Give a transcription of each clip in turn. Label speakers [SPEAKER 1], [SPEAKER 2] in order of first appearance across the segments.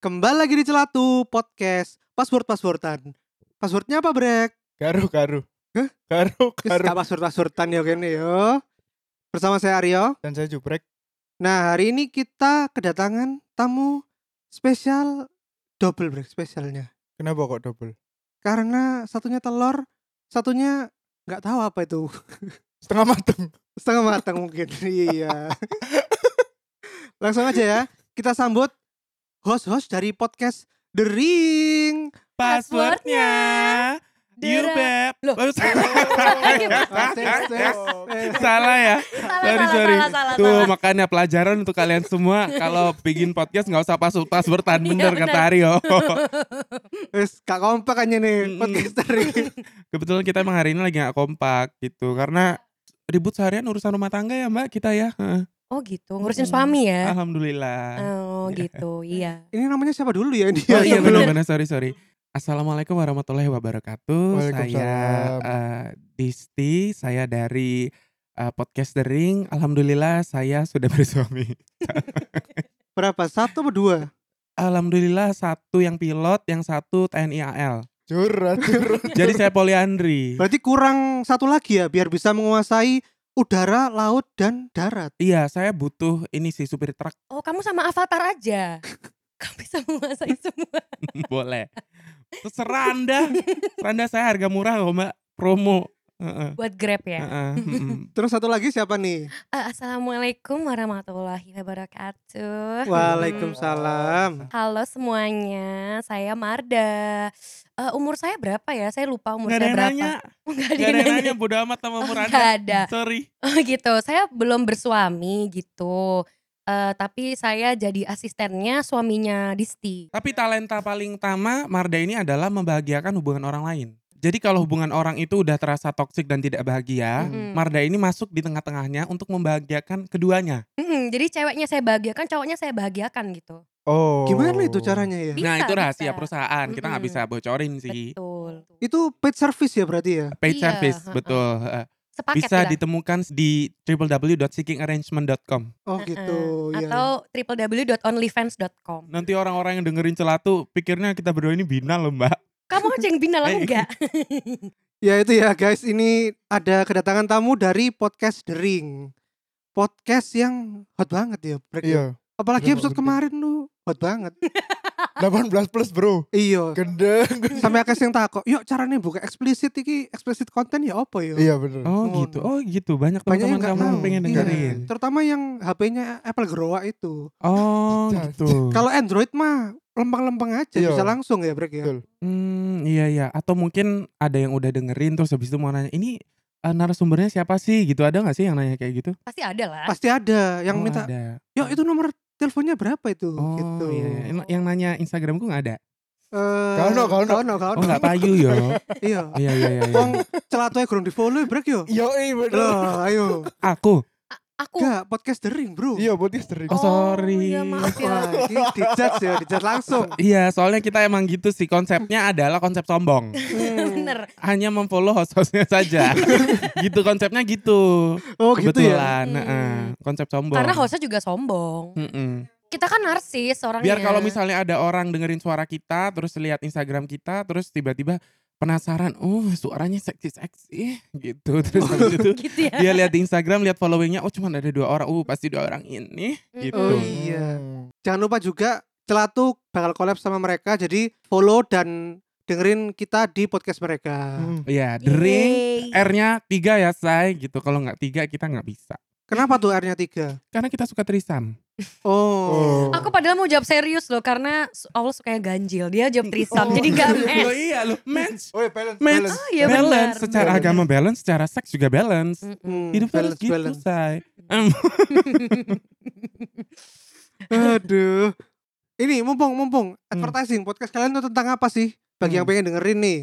[SPEAKER 1] Kembali lagi di Celatu Podcast Password Passwordan Passwordnya apa Brek?
[SPEAKER 2] Garu, garu.
[SPEAKER 1] Hah?
[SPEAKER 2] Garu,
[SPEAKER 1] Terus
[SPEAKER 2] garu.
[SPEAKER 1] gak password passwordan ya kene yo Bersama saya Aryo
[SPEAKER 2] Dan saya jubrek.
[SPEAKER 1] Nah hari ini kita kedatangan tamu spesial Double Brek spesialnya
[SPEAKER 2] Kenapa kok double?
[SPEAKER 1] Karena satunya telur Satunya nggak tahu apa itu
[SPEAKER 2] Setengah mateng.
[SPEAKER 1] Setengah matang mungkin Iya Langsung aja ya Kita sambut host-host dari podcast The Ring
[SPEAKER 3] Passwordnya,
[SPEAKER 2] Beb.
[SPEAKER 3] Loh.
[SPEAKER 2] Baru
[SPEAKER 1] Tes, tes, tes, Eh. tes.
[SPEAKER 4] salah ya sorry
[SPEAKER 3] salah,
[SPEAKER 4] sorry
[SPEAKER 3] salah, salah,
[SPEAKER 4] tuh
[SPEAKER 3] salah.
[SPEAKER 4] makanya pelajaran untuk kalian semua kalau bikin podcast nggak usah pasuk tas bertahan bener
[SPEAKER 3] Iya,
[SPEAKER 4] kata
[SPEAKER 3] bener.
[SPEAKER 4] Aryo
[SPEAKER 1] Wes gak kompak aja nih
[SPEAKER 4] Mm-mm.
[SPEAKER 1] podcaster ini.
[SPEAKER 4] kebetulan kita emang hari ini lagi nggak kompak gitu karena ribut seharian urusan rumah tangga ya mbak kita ya Heeh.
[SPEAKER 3] Oh gitu,
[SPEAKER 4] Mm.
[SPEAKER 3] ngurusin suami ya.
[SPEAKER 4] alhamdulillah
[SPEAKER 3] Oh gitu, iya.
[SPEAKER 1] Ini namanya siapa dulu ya ini?
[SPEAKER 4] oh iya
[SPEAKER 3] iya,
[SPEAKER 4] benar
[SPEAKER 3] bener.
[SPEAKER 4] benar sorry sorry assalamualaikum warahmatullahi wabarakatuh saya
[SPEAKER 2] Waalaikumsalam.
[SPEAKER 4] eh, Disti saya dari eh, podcast The Ring alhamdulillah saya sudah bersuami
[SPEAKER 1] Berapa? Satu atau dua?
[SPEAKER 4] Alhamdulillah satu yang pilot, yang satu TNI AL.
[SPEAKER 2] Curhat, curhat.
[SPEAKER 4] Jadi saya poliandri.
[SPEAKER 1] Berarti kurang satu lagi ya biar bisa menguasai udara, laut dan darat.
[SPEAKER 4] Iya, saya butuh ini sih supir truk
[SPEAKER 3] Oh kamu sama Avatar aja. Kamu bisa menguasai semua.
[SPEAKER 4] boleh. Terserah Anda. Anda saya harga murah kok, Mbak. Promo. Heeh,
[SPEAKER 3] Buat Grab ya.
[SPEAKER 4] heeh, heeh.
[SPEAKER 1] Terus satu lagi siapa nih?
[SPEAKER 3] Eh, Assalamualaikum warahmatullahi wabarakatuh.
[SPEAKER 1] Waalaikumsalam.
[SPEAKER 3] Halo semuanya, saya Marda. Eh, umur saya berapa ya? Saya lupa umur
[SPEAKER 4] Nggak ada
[SPEAKER 3] saya
[SPEAKER 4] yang
[SPEAKER 3] berapa.
[SPEAKER 4] nanya,
[SPEAKER 3] Nggak ada
[SPEAKER 4] nggak ada
[SPEAKER 3] yang
[SPEAKER 4] yang
[SPEAKER 3] nanya.
[SPEAKER 4] nanya bodo amat sama umur
[SPEAKER 3] Oh,
[SPEAKER 4] Anda.
[SPEAKER 3] nggak ada.
[SPEAKER 4] Sorry.
[SPEAKER 3] Oh gitu, saya belum bersuami gitu. Eh, tapi saya jadi asistennya suaminya Disti.
[SPEAKER 4] Tapi talenta paling utama Marda ini adalah membahagiakan hubungan orang lain. Jadi kalau hubungan orang itu udah terasa toksik dan tidak bahagia,
[SPEAKER 3] Mm-mm.
[SPEAKER 4] Marda ini masuk di tengah-tengahnya untuk membahagiakan keduanya.
[SPEAKER 3] Mm-mm, jadi ceweknya saya bahagiakan, cowoknya saya bahagiakan gitu.
[SPEAKER 2] Oh.
[SPEAKER 1] Gimana itu caranya ya?
[SPEAKER 3] Bisa,
[SPEAKER 4] nah itu rahasia
[SPEAKER 3] bisa.
[SPEAKER 4] perusahaan kita nggak bisa
[SPEAKER 3] Mm-mm.
[SPEAKER 4] bocorin sih
[SPEAKER 3] Betul.
[SPEAKER 1] Itu paid service ya berarti ya?
[SPEAKER 4] paid
[SPEAKER 3] Iya,
[SPEAKER 4] service
[SPEAKER 3] ha-ha.
[SPEAKER 4] betul Eh,
[SPEAKER 3] Sepaket
[SPEAKER 4] bisa
[SPEAKER 3] kita.
[SPEAKER 4] ditemukan di www.seekingarrangement.com
[SPEAKER 1] Oh gitu.
[SPEAKER 4] Iya,
[SPEAKER 1] ya.
[SPEAKER 3] atau www.onlyfans.com.
[SPEAKER 4] nanti orang-orang yang dengerin celatu pikirnya kita berdua ini bina loh mbak
[SPEAKER 3] Kamu aja yang binal aku
[SPEAKER 4] Eh.
[SPEAKER 3] enggak?
[SPEAKER 1] Ya itu ya guys, ini ada kedatangan tamu dari podcast The Ring. Podcast yang hot banget ya. Brek, ya.
[SPEAKER 2] Iya.
[SPEAKER 1] Apalagi
[SPEAKER 2] Udah
[SPEAKER 1] episode
[SPEAKER 2] nggak
[SPEAKER 1] kemarin tuh hot banget.
[SPEAKER 2] 18 plus bro.
[SPEAKER 1] Iya.
[SPEAKER 2] Gendeng.
[SPEAKER 1] Sampai akeh sing takok, "Yuk caranya buka eksplisit iki, eksplisit konten ya apa ya?"
[SPEAKER 2] Iya bener.
[SPEAKER 1] Oh,
[SPEAKER 4] oh gitu
[SPEAKER 1] no.
[SPEAKER 4] oh gitu banyak
[SPEAKER 1] Banyak
[SPEAKER 4] teman-teman
[SPEAKER 1] yang nggak
[SPEAKER 4] kamu
[SPEAKER 1] tahu.
[SPEAKER 4] yang pengen
[SPEAKER 1] Iya.
[SPEAKER 4] dengerin
[SPEAKER 1] Terutama yang HP-nya Apple Growa itu.
[SPEAKER 4] oh
[SPEAKER 2] Jangan.
[SPEAKER 4] gitu
[SPEAKER 1] Kalau Android mah lempeng-lempeng aja
[SPEAKER 2] Iya.
[SPEAKER 1] bisa langsung ya Brek ya.
[SPEAKER 2] Betul.
[SPEAKER 4] hmm, iya iya atau mungkin ada yang udah dengerin terus habis itu mau nanya ini eh, narasumbernya siapa sih gitu ada nggak sih yang nanya kayak gitu
[SPEAKER 3] Pasti ada lah.
[SPEAKER 1] Pasti ada yang
[SPEAKER 4] Oh,
[SPEAKER 1] minta,
[SPEAKER 4] ada.
[SPEAKER 1] "Yuk itu nomor teleponnya berapa itu?"
[SPEAKER 4] oh
[SPEAKER 1] gitu.
[SPEAKER 4] iya, iya. Yang- yang nanya instagramku nggak ada
[SPEAKER 1] Eh,
[SPEAKER 2] Kano, kano.
[SPEAKER 1] kano, kano.
[SPEAKER 4] oh nggak payu yo
[SPEAKER 1] Iya.
[SPEAKER 4] iya iya iya, iya.
[SPEAKER 1] Wong celatuke kurang di-follow Brek yo.
[SPEAKER 2] Iya, iya bener.
[SPEAKER 1] Loh, ayo.
[SPEAKER 4] aku
[SPEAKER 3] Aku
[SPEAKER 1] Enggak, podcast dering, Bro.
[SPEAKER 2] Iya, putih sering.
[SPEAKER 4] Oh, sorry.
[SPEAKER 3] ya maaf ya.
[SPEAKER 1] Wah, ini dijudge ya, dijudge langsung.
[SPEAKER 4] Iya, soalnya kita emang gitu sih konsepnya adalah konsep sombong.
[SPEAKER 3] Bener.
[SPEAKER 4] Hanya memfollow host-hostnya saja. gitu konsepnya gitu.
[SPEAKER 1] Oh, gitu ya.
[SPEAKER 4] Kebetulan,
[SPEAKER 3] Hmm.
[SPEAKER 4] heeh, konsep sombong.
[SPEAKER 3] Karena hostnya juga sombong.
[SPEAKER 4] Mm-mm.
[SPEAKER 3] Kita kan narsis orangnya.
[SPEAKER 4] Biar kalau misalnya ada orang dengerin suara kita, terus lihat Instagram kita, terus tiba-tiba penasaran, oh suaranya seksi-seksi gitu. Terus habis itu
[SPEAKER 3] gitu ya.
[SPEAKER 4] dia lihat di Instagram, lihat followingnya, oh cuma ada dua orang, oh pasti dua orang ini gitu.
[SPEAKER 1] Oh,
[SPEAKER 3] Mm-mm.
[SPEAKER 1] iya. Jangan lupa juga Celatu bakal collab sama mereka jadi follow dan dengerin kita di podcast mereka.
[SPEAKER 2] Hmm.
[SPEAKER 4] Iya, the ring.
[SPEAKER 3] Yeay.
[SPEAKER 4] R-nya tiga ya say gitu. Kalau nggak tiga kita nggak bisa.
[SPEAKER 1] Kenapa tuh R-nya 3?
[SPEAKER 4] Karena kita suka trisam.
[SPEAKER 1] Oh.
[SPEAKER 2] Oh.
[SPEAKER 3] Aku padahal mau jawab serius loh karena Allah suka yang ganjil. Dia jawab trisam.
[SPEAKER 2] Oh.
[SPEAKER 3] Jadi gak
[SPEAKER 4] Loh
[SPEAKER 3] match.
[SPEAKER 4] iya loh match.
[SPEAKER 2] Oh, iya, balance,
[SPEAKER 4] Match.
[SPEAKER 2] balance.
[SPEAKER 3] Oh iya benar.
[SPEAKER 4] balance secara
[SPEAKER 2] benar.
[SPEAKER 4] agama balance, secara seks juga balance.
[SPEAKER 3] Mm-mm.
[SPEAKER 1] Hmm,
[SPEAKER 4] Hidup tuh harus
[SPEAKER 1] balance,
[SPEAKER 4] gitu
[SPEAKER 1] balance.
[SPEAKER 4] say.
[SPEAKER 1] Aduh. Ini mumpung mumpung
[SPEAKER 2] Hmm.
[SPEAKER 1] advertising podcast kalian tuh tentang apa sih? Bagi yang pengen dengerin nih.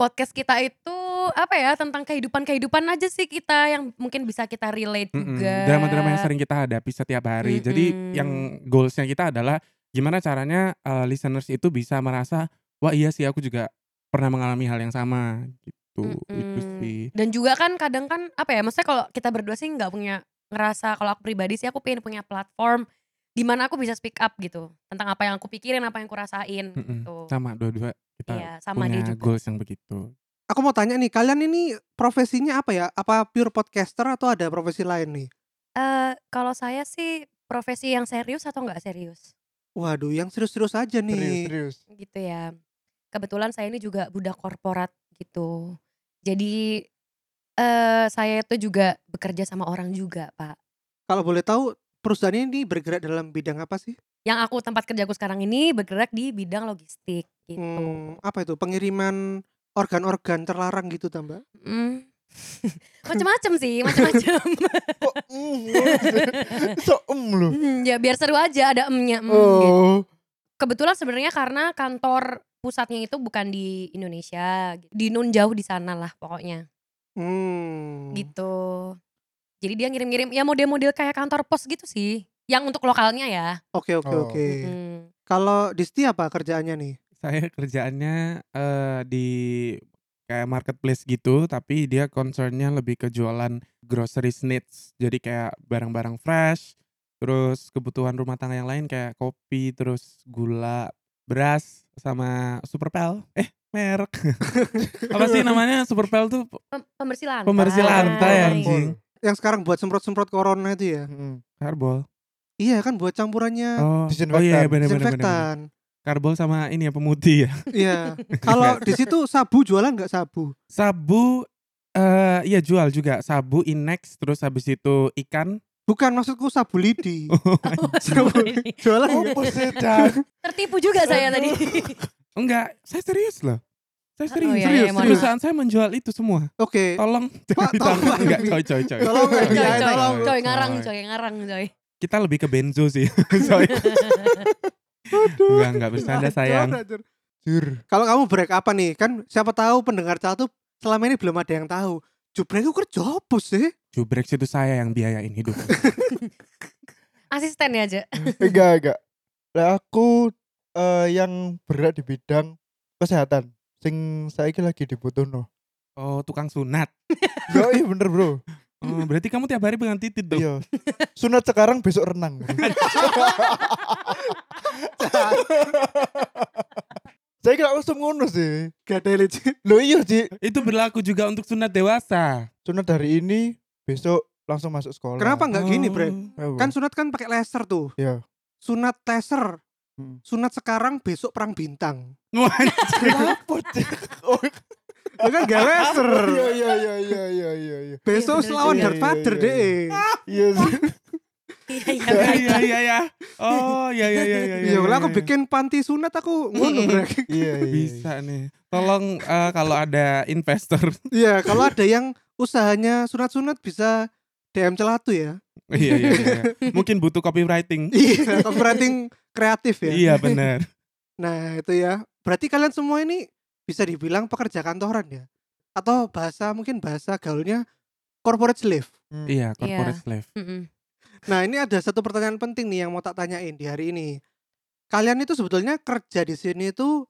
[SPEAKER 3] Podcast kita itu apa ya tentang kehidupan-kehidupan aja sih kita yang mungkin bisa kita relate
[SPEAKER 4] Mm-mm.
[SPEAKER 3] juga.
[SPEAKER 4] Drama-drama yang sering kita hadapi setiap hari. Jadi
[SPEAKER 3] Mm-mm.
[SPEAKER 4] yang goalsnya kita adalah gimana caranya uh, listeners itu bisa merasa wah iya sih aku juga pernah mengalami hal yang sama gitu. Itu
[SPEAKER 3] Mm-mm.
[SPEAKER 4] sih.
[SPEAKER 3] Dan juga kan kadang kan apa ya maksudnya kalau kita berdua sih nggak punya ngerasa kalau aku pribadi sih aku pengen punya platform di mana aku bisa speak up gitu tentang apa yang aku pikirin, apa yang aku rasain
[SPEAKER 4] Mm-mm.
[SPEAKER 3] gitu.
[SPEAKER 4] Sama dua-dua kita
[SPEAKER 3] Iya, sama
[SPEAKER 4] punya
[SPEAKER 3] dia juga.
[SPEAKER 4] goals yang begitu.
[SPEAKER 1] Aku mau tanya nih, kalian ini profesinya apa ya? Apa pure podcaster atau ada profesi lain nih?
[SPEAKER 3] Eh, kalau saya sih profesi yang serius atau nggak serius
[SPEAKER 1] Waduh, yang serius-serius aja nih.
[SPEAKER 2] Serius, serius.
[SPEAKER 3] gitu ya. Kebetulan saya ini juga budak korporat gitu. Jadi eh saya itu juga bekerja sama orang juga, Pak.
[SPEAKER 1] Kalau boleh tahu, perusahaan ini bergerak dalam bidang apa sih?
[SPEAKER 3] Yang aku tempat kerjaku sekarang ini bergerak di bidang logistik gitu.
[SPEAKER 1] Hmm, apa itu? Pengiriman organ-organ terlarang gitu, tambah.
[SPEAKER 3] Mm. macam-macam sih, macam-macam.
[SPEAKER 2] Kok mm, lu? so em lu.
[SPEAKER 3] Hmm, ya biar seru aja ada emnya. em, gitu.
[SPEAKER 2] Oh.
[SPEAKER 3] Kebetulan sebenarnya karena kantor pusatnya itu bukan di Indonesia, gitu. di Nun jauh di sana lah pokoknya.
[SPEAKER 1] Hmm.
[SPEAKER 3] gitu. Jadi dia ngirim-ngirim ya model-model kayak kantor pos gitu sih. Yang untuk lokalnya ya.
[SPEAKER 1] Oke, oke,
[SPEAKER 2] Oh.
[SPEAKER 1] oke.
[SPEAKER 3] Mm.
[SPEAKER 1] Kalau Disti apa kerjaannya nih?
[SPEAKER 4] Saya kerjaannya eh, di kayak marketplace gitu, tapi dia concernnya lebih ke jualan grocery needs. Jadi kayak barang-barang fresh, terus kebutuhan rumah tangga yang lain kayak kopi, terus gula, beras, sama superpel. Eh, merek. Apa sih namanya superpel tuh?
[SPEAKER 3] Pem- Iya, Pembersih lantai.
[SPEAKER 4] Pembersih lantai, ya, anjing.
[SPEAKER 1] Yang sekarang buat semprot-semprot corona itu ya?
[SPEAKER 2] Mm.
[SPEAKER 4] Karbol.
[SPEAKER 1] Iya kan buat campurannya
[SPEAKER 4] Oh, oh
[SPEAKER 2] Disinfektan.
[SPEAKER 4] iya, benar-benar.
[SPEAKER 1] disinfektan.
[SPEAKER 4] Karbol sama ini ya pemutih ya.
[SPEAKER 1] Iya. Kalau di situ sabu jualan nggak sabu?
[SPEAKER 4] Sabu eh iya jual juga sabu inex terus habis itu ikan
[SPEAKER 1] Bukan maksudku sabu lidi. Sabu-
[SPEAKER 3] Sorry.
[SPEAKER 1] jualan
[SPEAKER 2] Oh,
[SPEAKER 1] nggak?
[SPEAKER 2] persedan.
[SPEAKER 3] iya. Tertipu juga saya tadi.
[SPEAKER 4] Enggak, saya serius loh. Saya
[SPEAKER 3] Oh,
[SPEAKER 4] serius.
[SPEAKER 3] iya,
[SPEAKER 4] serius.
[SPEAKER 3] iya, mohon
[SPEAKER 4] Perusahaan saya menjual itu semua.
[SPEAKER 1] Oke.
[SPEAKER 4] Tolong jangan
[SPEAKER 1] Eh, tolong.
[SPEAKER 4] ditangkap. Enggak, coy, coy, coy.
[SPEAKER 1] Tolong
[SPEAKER 3] coy,
[SPEAKER 1] FBI,
[SPEAKER 3] coy,
[SPEAKER 1] tolong.
[SPEAKER 3] coy ngarang, coy ngarang, coy.
[SPEAKER 4] Kita lebih ke benzo sih. coy. Enggak, enggak bercanda sayang.
[SPEAKER 1] Hancur, hancur.
[SPEAKER 2] Jur.
[SPEAKER 1] Kalau kamu break apa nih? Kan siapa tahu pendengar tuh selama ini belum ada yang tahu. Jubrek itu kerja apa sih?
[SPEAKER 4] Jubrex itu saya yang biayain hidup.
[SPEAKER 3] Asisten ya aja.
[SPEAKER 2] Eh, Enggak, enggak. Lah aku eh, yang berat di bidang kesehatan. Sing saiki lagi dibutuhno.
[SPEAKER 4] Oh, tukang sunat.
[SPEAKER 2] Yo, iya bener, Bro.
[SPEAKER 1] Hmm.
[SPEAKER 4] Oh, berarti kamu tiap hari pegang titit dong.
[SPEAKER 2] Iya. Sunat sekarang besok renang. Saya kira langsung ngono sih.
[SPEAKER 1] Gak ada legit.
[SPEAKER 2] Loh iya sih.
[SPEAKER 4] Itu berlaku juga untuk sunat dewasa.
[SPEAKER 2] Sunat hari ini besok langsung masuk sekolah.
[SPEAKER 1] Kenapa nggak gini,
[SPEAKER 4] Oh.
[SPEAKER 1] Bre?
[SPEAKER 2] Apa?
[SPEAKER 1] Kan sunat kan pakai laser tuh.
[SPEAKER 2] Iya.
[SPEAKER 1] Sunat laser.
[SPEAKER 2] Hmm.
[SPEAKER 1] Sunat sekarang besok perang bintang.
[SPEAKER 4] Oh.
[SPEAKER 2] kenapa sih? Oh,
[SPEAKER 1] Ya kan gak laser.
[SPEAKER 2] Iya iya iya iya iya iya iya.
[SPEAKER 1] Besok
[SPEAKER 3] Iya, bener
[SPEAKER 1] lawan
[SPEAKER 2] juga.
[SPEAKER 1] Darth Vader
[SPEAKER 2] Iya, iya, iya.
[SPEAKER 1] deh.
[SPEAKER 2] Iya sih.
[SPEAKER 3] Iya, iya.
[SPEAKER 4] Iya, iya, iya, iya. Oh, iya, iya, iya. iya,
[SPEAKER 1] Iya, lah
[SPEAKER 4] iya,
[SPEAKER 1] aku
[SPEAKER 4] iya.
[SPEAKER 1] bikin panti sunat aku ngono Brek.
[SPEAKER 2] Iya iya.
[SPEAKER 4] Bisa nih. Tolong eh, kalau ada investor
[SPEAKER 1] Iya, kalau ada yang usahanya sunat-sunat bisa DM celatu ya.
[SPEAKER 4] iya, iya, iya. Mungkin butuh copywriting.
[SPEAKER 1] Iya, copywriting kreatif ya.
[SPEAKER 4] Iya benar.
[SPEAKER 1] Nah, itu ya. Berarti kalian semua ini bisa dibilang pekerja kantoran ya. Atau bahasa mungkin bahasa gaulnya corporate slave.
[SPEAKER 2] Hmm.
[SPEAKER 4] iya corporate slave.
[SPEAKER 3] Mm-mm.
[SPEAKER 1] Nah, ini ada satu pertanyaan penting nih yang mau tak tanyain di hari ini. Kalian itu sebetulnya kerja di sini itu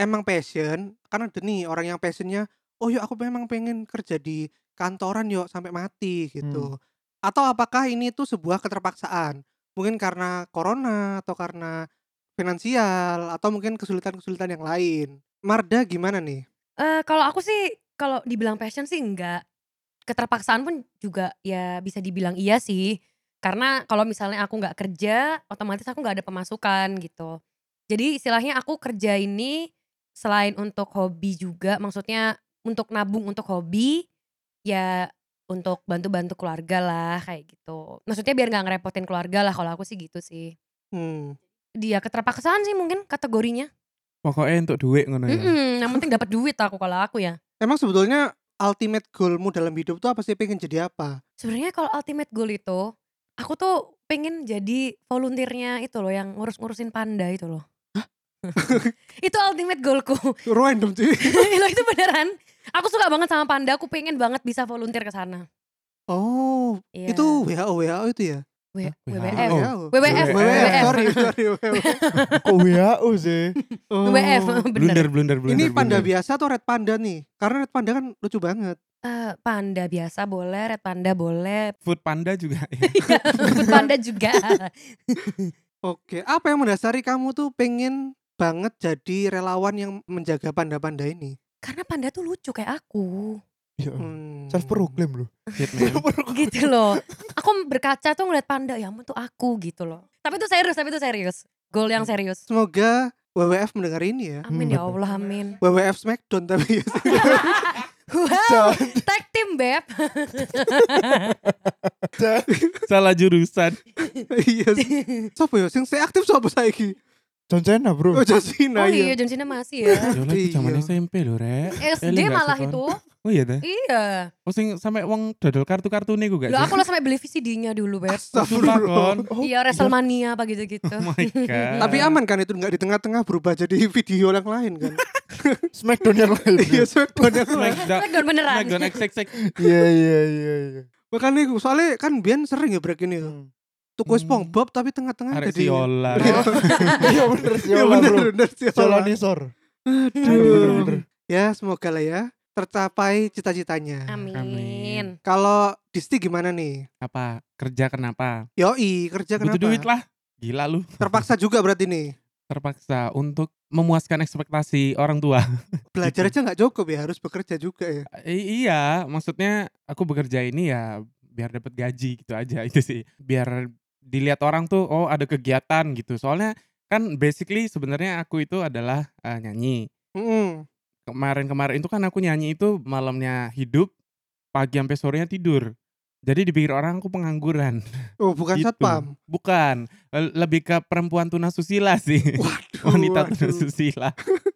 [SPEAKER 1] emang passion? Karena ada nih orang yang passionnya, oh yuk aku memang pengen kerja di kantoran yuk sampai mati gitu. Atau apakah ini itu sebuah keterpaksaan? Mungkin karena corona atau karena finansial atau mungkin kesulitan-kesulitan yang lain. Marda gimana nih?
[SPEAKER 3] Eh, kalau aku sih kalau dibilang passion sih enggak. Keterpaksaan pun juga ya bisa dibilang iya sih. Karena kalau misalnya aku nggak kerja, otomatis aku nggak ada pemasukan gitu. Jadi istilahnya aku kerja ini selain untuk hobi juga, maksudnya untuk nabung untuk hobi, ya untuk bantu-bantu keluarga lah kayak gitu. Maksudnya biar nggak ngerepotin keluarga lah kalau aku sih gitu sih.
[SPEAKER 1] Hmm.
[SPEAKER 3] Dia keterpaksaan sih mungkin kategorinya.
[SPEAKER 4] Pokoknya untuk duit ngono ya.
[SPEAKER 3] Mm-mm, yang penting dapat duit aku kalau aku ya.
[SPEAKER 1] Emang sebetulnya ultimate goalmu dalam hidup tuh apa sih? Pengen jadi apa?
[SPEAKER 3] sebenarnya kalau ultimate goal itu aku tuh pengen jadi volunteernya itu loh yang ngurus-ngurusin panda itu loh itu ultimate goalku
[SPEAKER 1] Random sih.
[SPEAKER 3] loh itu beneran Aku suka banget sama Panda, aku pengen banget bisa volunteer ke sana.
[SPEAKER 1] Oh,
[SPEAKER 3] Iya. Eh,
[SPEAKER 1] itu WHO WHO itu ya?
[SPEAKER 3] W-
[SPEAKER 4] Hah?
[SPEAKER 3] WWF.
[SPEAKER 4] Oh.
[SPEAKER 1] WHO.
[SPEAKER 3] WWF,
[SPEAKER 1] WWF,
[SPEAKER 3] WWF.
[SPEAKER 1] sorry, sorry, WWF.
[SPEAKER 2] Kok WHO sih?
[SPEAKER 1] Oh.
[SPEAKER 3] WWF, bener.
[SPEAKER 4] Blunder, blunder, blunder.
[SPEAKER 1] Ini panda
[SPEAKER 4] blunder.
[SPEAKER 1] biasa atau red panda nih? Karena red panda kan lucu banget.
[SPEAKER 3] Eh, panda biasa boleh, red panda boleh,
[SPEAKER 4] Food panda juga. ya.
[SPEAKER 1] Iya.
[SPEAKER 3] food panda juga.
[SPEAKER 1] Oke, apa yang mendasari kamu tuh pengen banget jadi relawan yang menjaga panda-panda ini?
[SPEAKER 3] Karena panda tuh lucu kayak aku.
[SPEAKER 2] Ya.
[SPEAKER 1] Hmm.
[SPEAKER 2] Self proclaim loh.
[SPEAKER 4] Shit, man.
[SPEAKER 3] gitu loh. Aku berkaca tuh ngeliat panda, ya ampun tuh aku gitu loh. Tapi itu serius, tapi itu serius. Goal yang serius.
[SPEAKER 1] Semoga WWF mendengar ini ya.
[SPEAKER 3] Amin ya Allah, amin.
[SPEAKER 1] WWF Smackdown tapi ya sih.
[SPEAKER 3] Wow, tag team Beb.
[SPEAKER 4] Salah jurusan.
[SPEAKER 1] Iya. Sopo ya sing saya aktif sopo saiki?
[SPEAKER 2] John Cena bro.
[SPEAKER 1] Oh Jasina
[SPEAKER 4] Nah,
[SPEAKER 3] Oh iya,
[SPEAKER 1] ya.
[SPEAKER 3] John Cena masih ya.
[SPEAKER 4] Jolah itu
[SPEAKER 1] Iya.
[SPEAKER 4] zaman SMP loh, Rek.
[SPEAKER 3] SD
[SPEAKER 4] Eling gak
[SPEAKER 3] Eh, malah
[SPEAKER 4] sopan.
[SPEAKER 3] itu.
[SPEAKER 4] Oh iya dah.
[SPEAKER 3] Iya.
[SPEAKER 4] Oh sing sampai wong dodol kartu-kartu nih gue gak
[SPEAKER 3] Loh aku lo sampai beli VCD-nya dulu,
[SPEAKER 4] Ah, Sumpah,
[SPEAKER 3] Beb.
[SPEAKER 1] Astagfirullah.
[SPEAKER 4] Kon.
[SPEAKER 2] Oh,
[SPEAKER 3] Iya, WrestleMania apa gitu-gitu.
[SPEAKER 4] Oh my god.
[SPEAKER 1] Tapi aman kan itu nggak di tengah-tengah berubah jadi video yang lain kan?
[SPEAKER 2] Smackdown yang lain.
[SPEAKER 1] Iya, Smackdown yang lain.
[SPEAKER 4] Smackdown.
[SPEAKER 3] Smackdown beneran.
[SPEAKER 4] Smackdown XXX.
[SPEAKER 2] Iya iya iya iya.
[SPEAKER 1] Makanya iku, soalnya kan Bian sering ya break ini ya. Tuku
[SPEAKER 4] Hmm.
[SPEAKER 1] SpongeBob tapi tengah-tengah
[SPEAKER 4] Arek
[SPEAKER 1] jadi.
[SPEAKER 4] Siola.
[SPEAKER 1] Iya.
[SPEAKER 2] Iya bener sih.
[SPEAKER 1] Iya
[SPEAKER 2] Yola,
[SPEAKER 1] bener
[SPEAKER 2] bro.
[SPEAKER 1] bener Iya, Siola.
[SPEAKER 2] Solanisor.
[SPEAKER 1] Aduh. Ya semoga lah ya tercapai cita-citanya.
[SPEAKER 3] Amin.
[SPEAKER 4] Amin.
[SPEAKER 1] Kalau Disti gimana nih?
[SPEAKER 4] Apa? Kerja kenapa?
[SPEAKER 1] Yoi kerja
[SPEAKER 4] Butuh
[SPEAKER 1] kenapa?
[SPEAKER 4] duit lah. Gila lu.
[SPEAKER 1] Terpaksa juga berarti nih.
[SPEAKER 4] Terpaksa untuk memuaskan ekspektasi orang tua.
[SPEAKER 1] Belajar
[SPEAKER 4] Gitu.
[SPEAKER 1] aja nggak cukup ya harus bekerja juga ya.
[SPEAKER 4] I- iya, maksudnya aku bekerja ini ya biar dapat gaji gitu aja itu sih. Biar dilihat orang tuh oh ada kegiatan gitu. Soalnya kan basically sebenarnya aku itu adalah eh, nyanyi.
[SPEAKER 1] Mm-mm.
[SPEAKER 4] Kemarin-kemarin itu kan aku nyanyi itu malamnya hidup, pagi sampai sorenya tidur. Jadi dipikir orang aku pengangguran.
[SPEAKER 1] Oh bukan
[SPEAKER 4] Gitu.
[SPEAKER 1] satpam.
[SPEAKER 4] Bukan, L- lebih ke perempuan tunasusila sih.
[SPEAKER 1] Waduh.
[SPEAKER 4] Wanita
[SPEAKER 1] waduh.
[SPEAKER 4] tunasusila.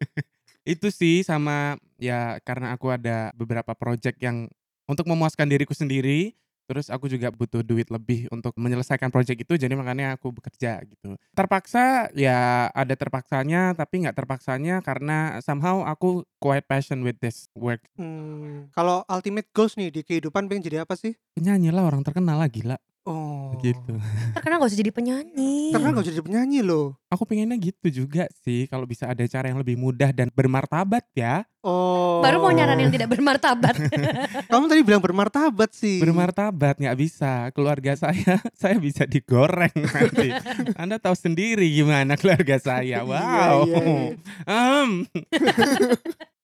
[SPEAKER 4] Itu sih sama ya karena aku ada beberapa project yang untuk memuaskan diriku sendiri, terus aku juga butuh duit lebih untuk menyelesaikan project itu, jadi makanya aku bekerja gitu. Terpaksa ya ada terpaksanya, tapi nggak terpaksanya karena somehow aku quite passion with this work.
[SPEAKER 1] Hmm, Kalau ultimate goals nih di kehidupan pengen jadi apa sih?
[SPEAKER 4] Penyanyi lah orang terkenal lah gila
[SPEAKER 1] Oh.
[SPEAKER 4] gitu.
[SPEAKER 3] Terkenal gak usah jadi penyanyi.
[SPEAKER 1] Karena gak jadi penyanyi loh.
[SPEAKER 4] Aku pengennya gitu juga sih kalau bisa ada cara yang lebih mudah dan bermartabat ya.
[SPEAKER 1] Oh.
[SPEAKER 3] Baru mau nyaran yang tidak bermartabat.
[SPEAKER 1] Kamu tadi bilang bermartabat sih.
[SPEAKER 4] Bermartabat nggak bisa. Keluarga saya saya bisa digoreng nanti. Anda tahu sendiri gimana keluarga saya. Wow.
[SPEAKER 1] Iya, iya.
[SPEAKER 4] Em,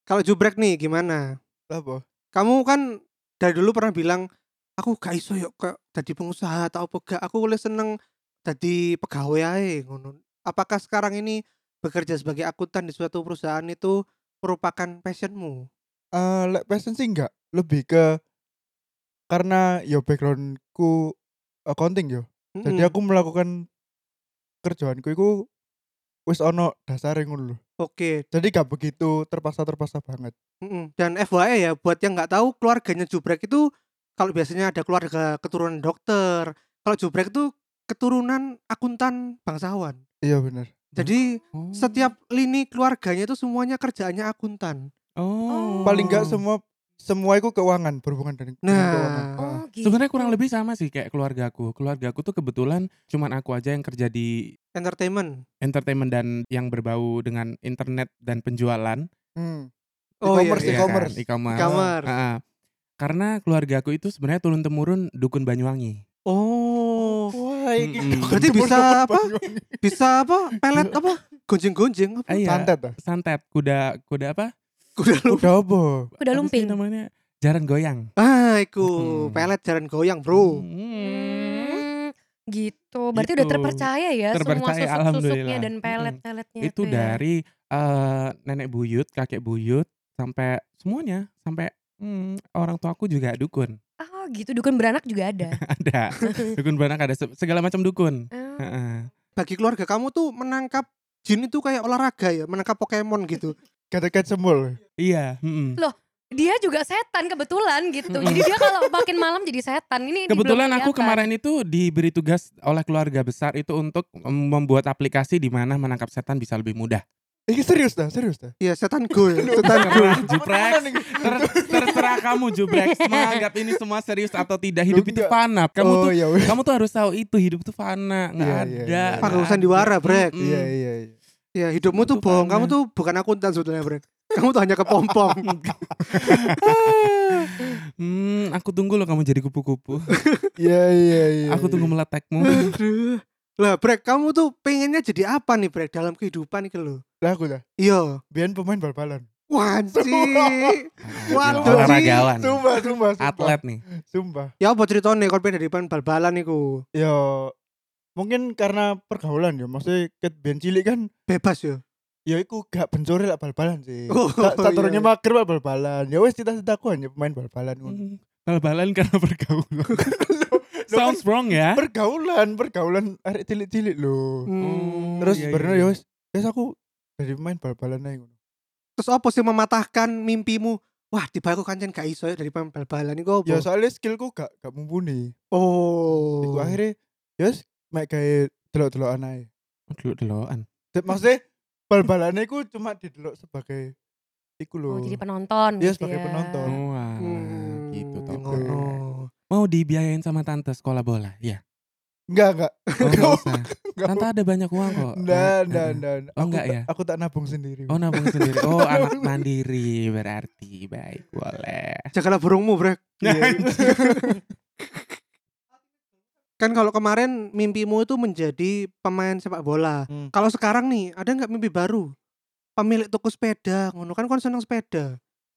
[SPEAKER 1] Kalau jubrek nih gimana?
[SPEAKER 2] Apa?
[SPEAKER 1] Kamu kan dari dulu pernah bilang aku gak iso yuk ke jadi pengusaha atau apa gak. Aku boleh seneng jadi pegawai ae ngono. Apakah sekarang ini bekerja sebagai akuntan di suatu perusahaan itu merupakan passionmu?
[SPEAKER 2] Eh, lek passion sih enggak, lebih ke karena yo backgroundku accounting yo. Jadi
[SPEAKER 1] Mm-mm.
[SPEAKER 2] aku melakukan kerjaanku itu wis ono dasar ngono lho.
[SPEAKER 1] Oke,
[SPEAKER 2] Jadi gak begitu terpaksa-terpaksa banget.
[SPEAKER 1] mm-mm. dan FYI ya buat yang nggak tahu keluarganya Jubrek itu kalau biasanya ada keluarga keturunan dokter, kalau Jubrek itu keturunan akuntan bangsawan.
[SPEAKER 2] Iya bener.
[SPEAKER 1] Jadi
[SPEAKER 4] oh.
[SPEAKER 1] setiap lini keluarganya itu semuanya kerjaannya akuntan.
[SPEAKER 4] Oh.
[SPEAKER 2] Paling enggak semua semua itu keuangan, berhubungan dengan dengan keuangan.
[SPEAKER 1] Nah,
[SPEAKER 3] oh gitu.
[SPEAKER 4] Sebenarnya kurang lebih sama sih kayak keluarga aku. Keluarga aku tuh kebetulan cuman aku aja yang kerja di
[SPEAKER 1] entertainment.
[SPEAKER 4] entertainment dan yang berbau dengan internet dan penjualan.
[SPEAKER 2] Hmm.
[SPEAKER 1] Oh, iya,
[SPEAKER 2] E-commerce,
[SPEAKER 1] iya.
[SPEAKER 2] e-commerce.
[SPEAKER 4] kan? e-commerce.
[SPEAKER 1] E-commerce.
[SPEAKER 4] Ah, ah. karena keluarga aku itu sebenarnya turun temurun dukun Banyuwangi.
[SPEAKER 1] Oh,
[SPEAKER 2] Wah, iki
[SPEAKER 4] Mm-mm.
[SPEAKER 2] dukun-
[SPEAKER 1] Berarti bisa
[SPEAKER 2] dukun
[SPEAKER 1] apa?
[SPEAKER 2] Banyuwangi.
[SPEAKER 1] bisa apa? Pelet apa? Gonjeng-gonjeng apa?
[SPEAKER 4] Ah, iya.
[SPEAKER 2] Santet ah.
[SPEAKER 4] Santet kuda kuda apa?
[SPEAKER 1] Kuda lu.
[SPEAKER 2] Udah apa?
[SPEAKER 3] Kuda
[SPEAKER 4] Apa sih
[SPEAKER 3] lumping.
[SPEAKER 4] namanya jaran goyang.
[SPEAKER 1] Ah, iku
[SPEAKER 4] Hmm.
[SPEAKER 1] pelet jalan goyang, Bro.
[SPEAKER 4] Hmm.
[SPEAKER 3] Hmm, gitu. Berarti udah
[SPEAKER 4] Gitu.
[SPEAKER 3] terpercaya ya semua
[SPEAKER 4] Terpercaya,
[SPEAKER 3] susuk-susuknya
[SPEAKER 4] alhamdulillah. Hmm,
[SPEAKER 3] dan pelet-peletnya
[SPEAKER 4] Itu
[SPEAKER 3] ya.
[SPEAKER 4] dari eh, nenek buyut, kakek buyut sampai semuanya sampai hmm, orang tuaku juga dukun.
[SPEAKER 3] Oh gitu, dukun beranak juga ada.
[SPEAKER 4] Ada dukun beranak ada se- segala macam dukun.
[SPEAKER 3] Ah,
[SPEAKER 4] Heeh.
[SPEAKER 1] Bagi keluarga kamu tuh menangkap jin itu kayak olahraga ya, menangkap Pokemon gitu.
[SPEAKER 2] Kata-kata semul.
[SPEAKER 4] Iya. mm-mm.
[SPEAKER 3] dia juga setan kebetulan gitu.
[SPEAKER 4] Mm-mm.
[SPEAKER 3] Jadi dia kalau makin malam jadi setan. Ini belum
[SPEAKER 4] Hmm. Kebetulan aku
[SPEAKER 3] kelihatan.
[SPEAKER 4] kemarin itu diberi tugas oleh keluarga besar itu untuk mm, membuat aplikasi di mana menangkap setan bisa lebih mudah.
[SPEAKER 2] Ini serius dah, serius dah.
[SPEAKER 1] Iya, setan goal, setan goal.
[SPEAKER 4] Terserah jubrek. Ter- terserah kamu jubrek. Menganggap ini semua serius atau tidak hidup
[SPEAKER 2] Loh,
[SPEAKER 4] itu
[SPEAKER 2] enggak.
[SPEAKER 4] fana. Kamu
[SPEAKER 2] oh,
[SPEAKER 4] tuh
[SPEAKER 2] iya, weh.
[SPEAKER 4] kamu tuh harus tahu itu hidup tuh fana, nggak
[SPEAKER 2] Iya, iya,
[SPEAKER 4] ada.
[SPEAKER 2] iya.
[SPEAKER 1] Parusan
[SPEAKER 4] nggak
[SPEAKER 1] diwara,
[SPEAKER 4] ada.
[SPEAKER 1] Brek.
[SPEAKER 4] Mm-mm.
[SPEAKER 2] Iya, iya, iya.
[SPEAKER 1] Iya, hidupmu tuh
[SPEAKER 4] Itu
[SPEAKER 1] bohong. Kamu
[SPEAKER 4] karena-
[SPEAKER 1] tuh bukan akuntan sebetulnya, Brek. Kamu tuh hanya kepompong.
[SPEAKER 4] Hmm, aku tunggu loh kamu jadi kupu-kupu.
[SPEAKER 2] Iya, iya, iya.
[SPEAKER 4] Aku tunggu
[SPEAKER 2] iya.
[SPEAKER 4] meletekmu.
[SPEAKER 1] Aduh. Lah, Brek, kamu tuh pengennya jadi apa nih, Brek, dalam kehidupan iki lho?
[SPEAKER 2] Lah aku dah.
[SPEAKER 1] Iya.
[SPEAKER 2] Biar pemain bal-balan.
[SPEAKER 1] Wanci. Waduh,
[SPEAKER 4] Gila,
[SPEAKER 2] gitu.
[SPEAKER 4] olahragawan.
[SPEAKER 2] Sumpah, sumpah, sumpah.
[SPEAKER 4] Atlet nih.
[SPEAKER 2] Sumpah.
[SPEAKER 1] Ya apa ceritanya kon pengen dari ban bal-balan iku?
[SPEAKER 2] Ya mungkin karena pergaulan ya. Maksudnya ket ben cilik kan
[SPEAKER 1] Bebas yo.
[SPEAKER 2] ya iku gak bencori lah bal-balan sih.
[SPEAKER 1] Oh,
[SPEAKER 2] Sa- Saturnya
[SPEAKER 1] iya.
[SPEAKER 2] mager lah bal-balan. Ya wes cita-citaku hanya pemain bal-balan
[SPEAKER 1] Hmm.
[SPEAKER 2] ngono.
[SPEAKER 4] Bal-balan karena pergaulan. Sounds wrong ya.
[SPEAKER 2] Pergaulan, pergaulan arek cilik-cilik lho.
[SPEAKER 1] Hmm.
[SPEAKER 2] Terus
[SPEAKER 4] iya,
[SPEAKER 2] baru
[SPEAKER 4] iya.
[SPEAKER 2] ya wes, wes aku jadi pemain bal-balan aja ngono.
[SPEAKER 1] Terus apa sih mematahkan mimpimu? Wah, tiba aku kancen gak iso ya dari ban bal-balan iku
[SPEAKER 2] Ya
[SPEAKER 1] apa?
[SPEAKER 2] soalnya skillku gak gak mumpuni.
[SPEAKER 1] Oh.
[SPEAKER 2] Iku akhirnya ya wes mek gawe delok-delokan ae.
[SPEAKER 4] Aduh, deloan.
[SPEAKER 2] Dek, Maksudnya bal-balannya iku cuma didelok sebagai iku lho.
[SPEAKER 3] Oh, jadi penonton
[SPEAKER 2] Iya,
[SPEAKER 3] gitu
[SPEAKER 2] sebagai
[SPEAKER 3] ya.
[SPEAKER 2] penonton.
[SPEAKER 4] Oh, Wah,
[SPEAKER 1] Hmm,
[SPEAKER 4] gitu toh.
[SPEAKER 1] ngono.
[SPEAKER 4] Mau dibiayain sama tante sekolah bola? Iya.
[SPEAKER 2] Enggak, enggak.
[SPEAKER 4] Oh, nggak usah.
[SPEAKER 2] Enggak.
[SPEAKER 4] Tante ada banyak uang
[SPEAKER 2] Nggak,
[SPEAKER 4] kok. Eh,
[SPEAKER 2] nggak,
[SPEAKER 4] eh, eh.
[SPEAKER 2] nggak, nggak.
[SPEAKER 4] Oh,
[SPEAKER 2] Aku
[SPEAKER 4] nggak
[SPEAKER 2] tak-
[SPEAKER 4] ya?
[SPEAKER 2] Aku tak nabung sendiri.
[SPEAKER 4] Oh nabung sendiri. Oh anak mandiri berarti baik boleh.
[SPEAKER 1] Jagalah Eh. burungmu, Brek.
[SPEAKER 2] Iya.
[SPEAKER 4] ya?
[SPEAKER 1] Kan kalau kemarin mimpimu itu menjadi pemain sepak bola.
[SPEAKER 2] Hmm.
[SPEAKER 1] Kalau sekarang nih, ada nggak mimpi baru? Pemilik toko sepeda, ngono kan kon seneng sepeda.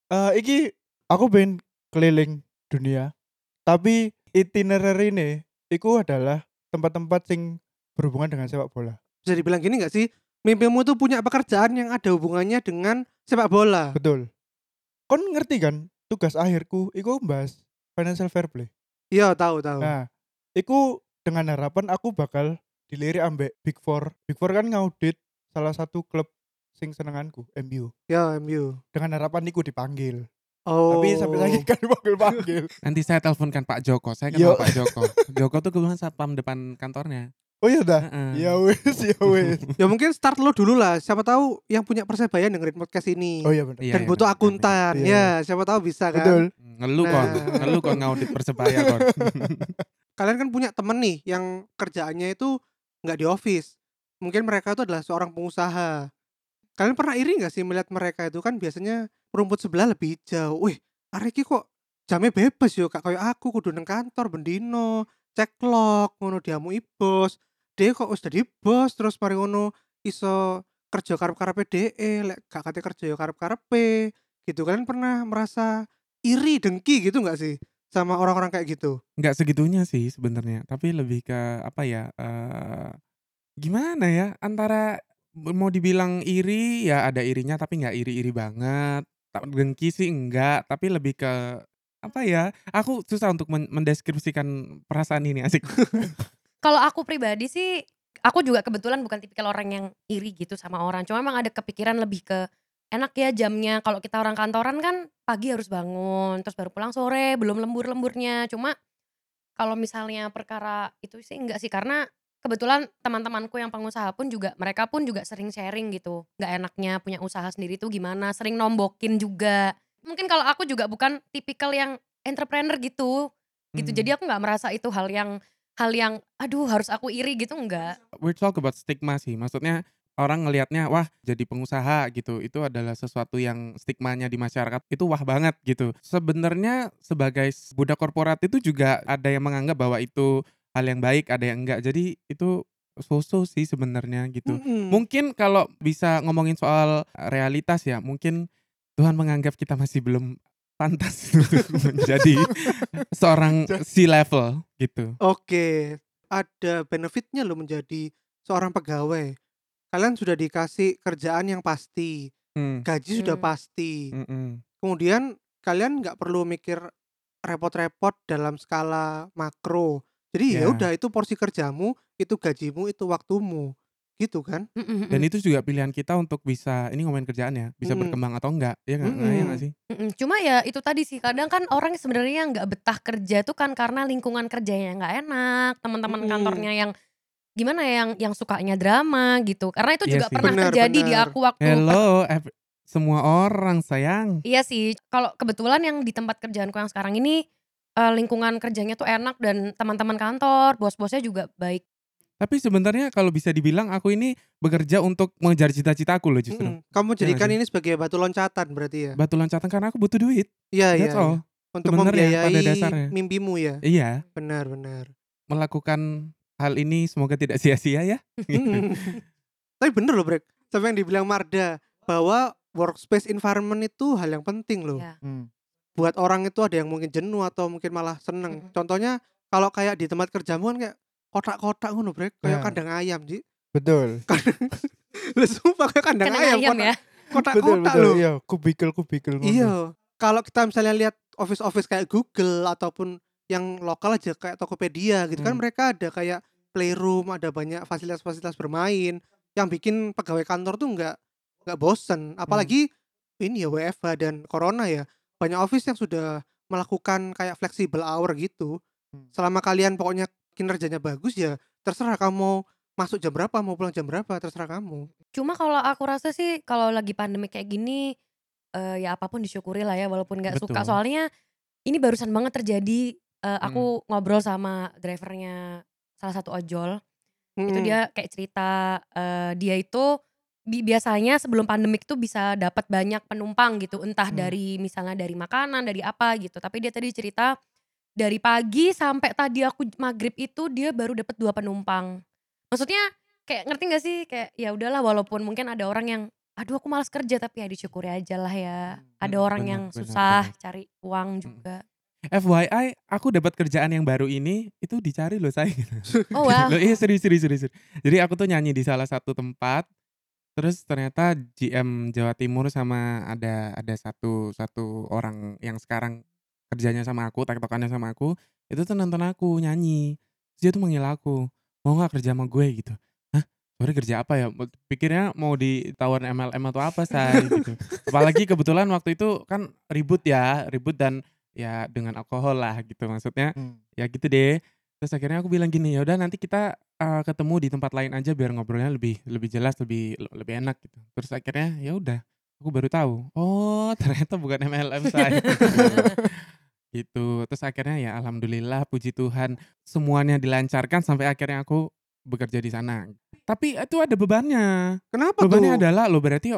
[SPEAKER 2] Eh, iki aku pengen keliling dunia. Tapi itinerary ini iku adalah tempat-tempat sing berhubungan dengan sepak bola.
[SPEAKER 1] Bisa dibilang gini nggak sih? Mimpimu itu punya pekerjaan yang ada hubungannya dengan sepak bola.
[SPEAKER 2] Betul. Kon ngerti kan tugas akhirku iku bahas financial fair play.
[SPEAKER 1] Iya, tahu tahu.
[SPEAKER 2] Nah, iku dengan harapan aku bakal dilirik ambek Big Four. Big Four kan ngaudit salah satu klub sing senenganku, MU.
[SPEAKER 1] Ya, MU.
[SPEAKER 2] Dengan harapan niku dipanggil.
[SPEAKER 1] Oh.
[SPEAKER 2] Tapi sampai lagi kan panggil-panggil.
[SPEAKER 4] Nanti saya teleponkan Pak Joko. Saya
[SPEAKER 2] Yo.
[SPEAKER 4] kenal Pak Joko. Joko tuh kebetulan satpam depan kantornya.
[SPEAKER 2] oh iya dah.
[SPEAKER 4] Heeh.
[SPEAKER 2] Ya wes, ya wes.
[SPEAKER 1] Ya mungkin start lo dulu lah. Siapa tahu yang punya persebaya dengerin podcast ini.
[SPEAKER 2] Oh iya benar.
[SPEAKER 4] Iya,
[SPEAKER 1] Dan
[SPEAKER 4] iya,
[SPEAKER 1] butuh
[SPEAKER 4] benar, benar,
[SPEAKER 1] akuntan.
[SPEAKER 2] Iya.
[SPEAKER 1] Ya, siapa tahu bisa kan.
[SPEAKER 2] Betul.
[SPEAKER 4] benar. Ngeluh kon,
[SPEAKER 1] Nah.
[SPEAKER 4] ngeluh kon ngaudit persebaya kon.
[SPEAKER 1] kalian kan punya temen nih yang kerjaannya itu nggak di office mungkin mereka itu adalah seorang pengusaha kalian pernah iri nggak sih melihat mereka itu kan biasanya rumput sebelah lebih hijau wih arek iki kok jamnya bebas yo kak kayak aku kudu neng kantor bendino cek log ngono diamu ibos dia kok wis dadi bos terus mari ngono iso kerja karep karepe DE lek gak kate kerja yo karep karepe gitu kalian pernah merasa iri dengki gitu nggak sih sama orang-orang kayak gitu
[SPEAKER 4] Nggak segitunya sih sebenarnya. Tapi lebih ke apa ya? eh, gimana ya? Antara mau dibilang iri ya ada irinya tapi nggak iri-iri banget. Tak- Dengki sih enggak, tapi lebih ke apa ya? Aku susah untuk men- mendeskripsikan perasaan ini asik.
[SPEAKER 3] Kalau aku pribadi sih, aku juga kebetulan bukan tipikal orang yang iri gitu sama orang. Cuma emang ada kepikiran lebih ke enak ya jamnya. Kalau kita orang kantoran kan pagi harus bangun, terus baru pulang sore, belum lembur-lemburnya. Cuma kalau misalnya perkara itu sih enggak sih karena kebetulan teman-temanku yang pengusaha pun juga mereka pun juga sering sharing gitu. Nggak enaknya punya usaha sendiri tuh gimana, sering nombokin juga. Mungkin kalau aku juga bukan tipikal yang entrepreneur gitu. Gitu.
[SPEAKER 4] Hmm.
[SPEAKER 3] Jadi aku nggak merasa itu hal yang hal yang aduh harus aku iri gitu enggak
[SPEAKER 4] we talk about stigma sih. Maksudnya orang ngelihatnya wah jadi pengusaha gitu. Itu adalah sesuatu yang stigmanya di masyarakat itu wah banget gitu. Sebenarnya sebagai budak korporat itu juga ada yang menganggap bahwa itu hal yang baik, ada yang enggak. Jadi itu so-so sih sebenarnya gitu.
[SPEAKER 1] Mm-mm.
[SPEAKER 4] Mungkin kalau bisa ngomongin soal realitas ya, mungkin Tuhan menganggap kita masih belum pantas untuk menjadi seorang C level gitu.
[SPEAKER 1] Oke, ada benefitnya loh menjadi seorang pegawai. Kalian sudah dikasih kerjaan yang pasti,
[SPEAKER 4] Hmm.
[SPEAKER 1] gaji sudah
[SPEAKER 3] Hmm.
[SPEAKER 1] pasti.
[SPEAKER 4] Mm-mm.
[SPEAKER 1] Kemudian kalian nggak perlu mikir repot-repot dalam skala makro. Jadi
[SPEAKER 4] Ya.
[SPEAKER 1] ya udah itu porsi kerjamu, itu gajimu, itu waktumu, gitu kan?
[SPEAKER 3] Mm-mm-mm.
[SPEAKER 4] dan itu juga pilihan kita untuk bisa ini ngomongin kerjaan ya bisa
[SPEAKER 3] Hmm.
[SPEAKER 1] Mm-mm.
[SPEAKER 4] berkembang atau enggak ya enggak
[SPEAKER 1] Mm-mm.
[SPEAKER 4] ya enggak sih
[SPEAKER 3] Mm-mm. cuma ya itu tadi sih kadang kan orang sebenarnya nggak betah kerja tuh kan karena lingkungan kerjanya nggak enak teman-teman
[SPEAKER 1] Mm-mm.
[SPEAKER 3] kantornya yang gimana ya, yang yang sukanya drama gitu. Karena itu
[SPEAKER 4] Iya
[SPEAKER 3] juga
[SPEAKER 4] sih.
[SPEAKER 3] pernah
[SPEAKER 1] Benar,
[SPEAKER 3] terjadi di
[SPEAKER 1] benar.
[SPEAKER 3] aku waktu
[SPEAKER 4] Hello, ev- semua orang sayang.
[SPEAKER 3] Iya sih, kalau kebetulan yang di tempat kerjaanku yang sekarang ini eh, lingkungan kerjanya tuh enak dan teman-teman kantor, bos-bosnya juga baik.
[SPEAKER 4] Tapi sebenarnya kalau bisa dibilang aku ini bekerja untuk mengejar cita-citaku loh justru. ya
[SPEAKER 3] Hmm.
[SPEAKER 1] Mm-mm. Hmm, Kamu
[SPEAKER 4] nggak
[SPEAKER 1] jadikan
[SPEAKER 4] sih?
[SPEAKER 1] ini sebagai batu loncatan berarti ya.
[SPEAKER 4] Batu loncatan karena aku butuh duit.
[SPEAKER 3] Oh,
[SPEAKER 1] Iya iya.
[SPEAKER 4] That's
[SPEAKER 1] iya.
[SPEAKER 4] all.
[SPEAKER 1] Untuk
[SPEAKER 4] Sebenarnya, ya, pada
[SPEAKER 1] membiayai
[SPEAKER 4] dasarnya.
[SPEAKER 1] mimpimu ya.
[SPEAKER 4] Iya,
[SPEAKER 1] Benar benar.
[SPEAKER 4] melakukan hal ini semoga tidak sia-sia
[SPEAKER 3] Iya,
[SPEAKER 4] ya.
[SPEAKER 1] Mm-mm. gitu. Tapi bener loh Brek. Sampai yang dibilang Marda bahwa workspace environment itu hal yang penting loh.
[SPEAKER 3] Ya.
[SPEAKER 2] Hmm.
[SPEAKER 1] Buat orang itu ada yang mungkin jenuh atau mungkin malah seneng.
[SPEAKER 3] Mm-mm.
[SPEAKER 1] Contohnya kalau kayak di tempat kerjamu kan kayak kotak-kotak ngono Brek, kayak
[SPEAKER 2] Ya.
[SPEAKER 1] kandang ayam, Ji.
[SPEAKER 2] Betul.
[SPEAKER 1] Lu sumpah kayak kandang,
[SPEAKER 3] Kandang ayam,
[SPEAKER 1] kotak-
[SPEAKER 3] ya.
[SPEAKER 2] betul,
[SPEAKER 1] kotak-kotak
[SPEAKER 2] betul.
[SPEAKER 1] loh.
[SPEAKER 2] Iya, kubikel-kubikel ngono.
[SPEAKER 1] Iya. Kalau kita misalnya lihat office-office kayak Google ataupun yang lokal aja kayak Tokopedia gitu kan
[SPEAKER 2] Hmm.
[SPEAKER 1] mereka ada kayak playroom, ada banyak fasilitas-fasilitas bermain yang bikin pegawai kantor tuh nggak nggak bosen. Apalagi ini ya WFH dan corona ya. Banyak office yang sudah melakukan kayak flexible hour gitu.
[SPEAKER 2] Hmm.
[SPEAKER 1] Selama kalian pokoknya kinerjanya bagus ya terserah kamu mau masuk jam berapa, mau pulang jam berapa, terserah kamu.
[SPEAKER 3] Cuma kalau aku rasa sih kalau lagi pandemi kayak gini eh, ya apapun disyukuri lah ya walaupun nggak
[SPEAKER 4] Betul.
[SPEAKER 3] suka. Soalnya ini barusan banget terjadi eh, aku ngobrol sama drivernya salah satu ojol.
[SPEAKER 4] Hmm.
[SPEAKER 3] itu
[SPEAKER 1] Mm-mm.
[SPEAKER 3] dia kayak cerita eh, dia itu bi- biasanya sebelum pandemik itu bisa dapat banyak penumpang gitu entah
[SPEAKER 2] Hmm.
[SPEAKER 3] dari misalnya dari makanan dari apa gitu tapi dia tadi cerita dari pagi sampai tadi aku maghrib itu dia baru dapat dua penumpang maksudnya kayak ngerti gak sih kayak ya udahlah walaupun mungkin ada orang yang aduh aku malas kerja tapi ya disyukuri aja lah ya ada
[SPEAKER 4] Hmm,
[SPEAKER 3] orang
[SPEAKER 4] benar,
[SPEAKER 3] yang
[SPEAKER 4] benar,
[SPEAKER 3] susah
[SPEAKER 4] benar. Hmm.
[SPEAKER 3] cari uang juga
[SPEAKER 4] FYI, aku dapat kerjaan yang baru ini itu dicari loh saya.
[SPEAKER 3] oh wow
[SPEAKER 4] Loh, iya serius, serius, serius. serius. Jadi aku tuh nyanyi di salah satu tempat. Terus ternyata GM Jawa Timur sama ada ada satu satu orang yang sekarang kerjanya sama aku, tektokannya sama aku, itu tuh nonton aku nyanyi. Terus dia tuh manggil aku, mau nggak kerja sama gue gitu. Hah? Sorry kerja apa ya? Pikirnya mau ditawarin MLM atau apa say gitu. Apalagi kebetulan waktu itu kan ribut ya, ribut dan ya dengan alkohol lah gitu maksudnya
[SPEAKER 2] Hmm.
[SPEAKER 4] ya gitu deh terus akhirnya aku bilang gini ya udah nanti kita uh, ketemu di tempat lain aja biar ngobrolnya lebih lebih jelas lebih lebih enak gitu terus akhirnya ya udah aku baru tahu oh ternyata bukan MLM saya gitu terus akhirnya ya alhamdulillah puji Tuhan semuanya dilancarkan sampai akhirnya aku bekerja di sana tapi itu ada bebannya
[SPEAKER 1] Kenapa
[SPEAKER 4] bebannya
[SPEAKER 1] tuh?
[SPEAKER 4] adalah lo berarti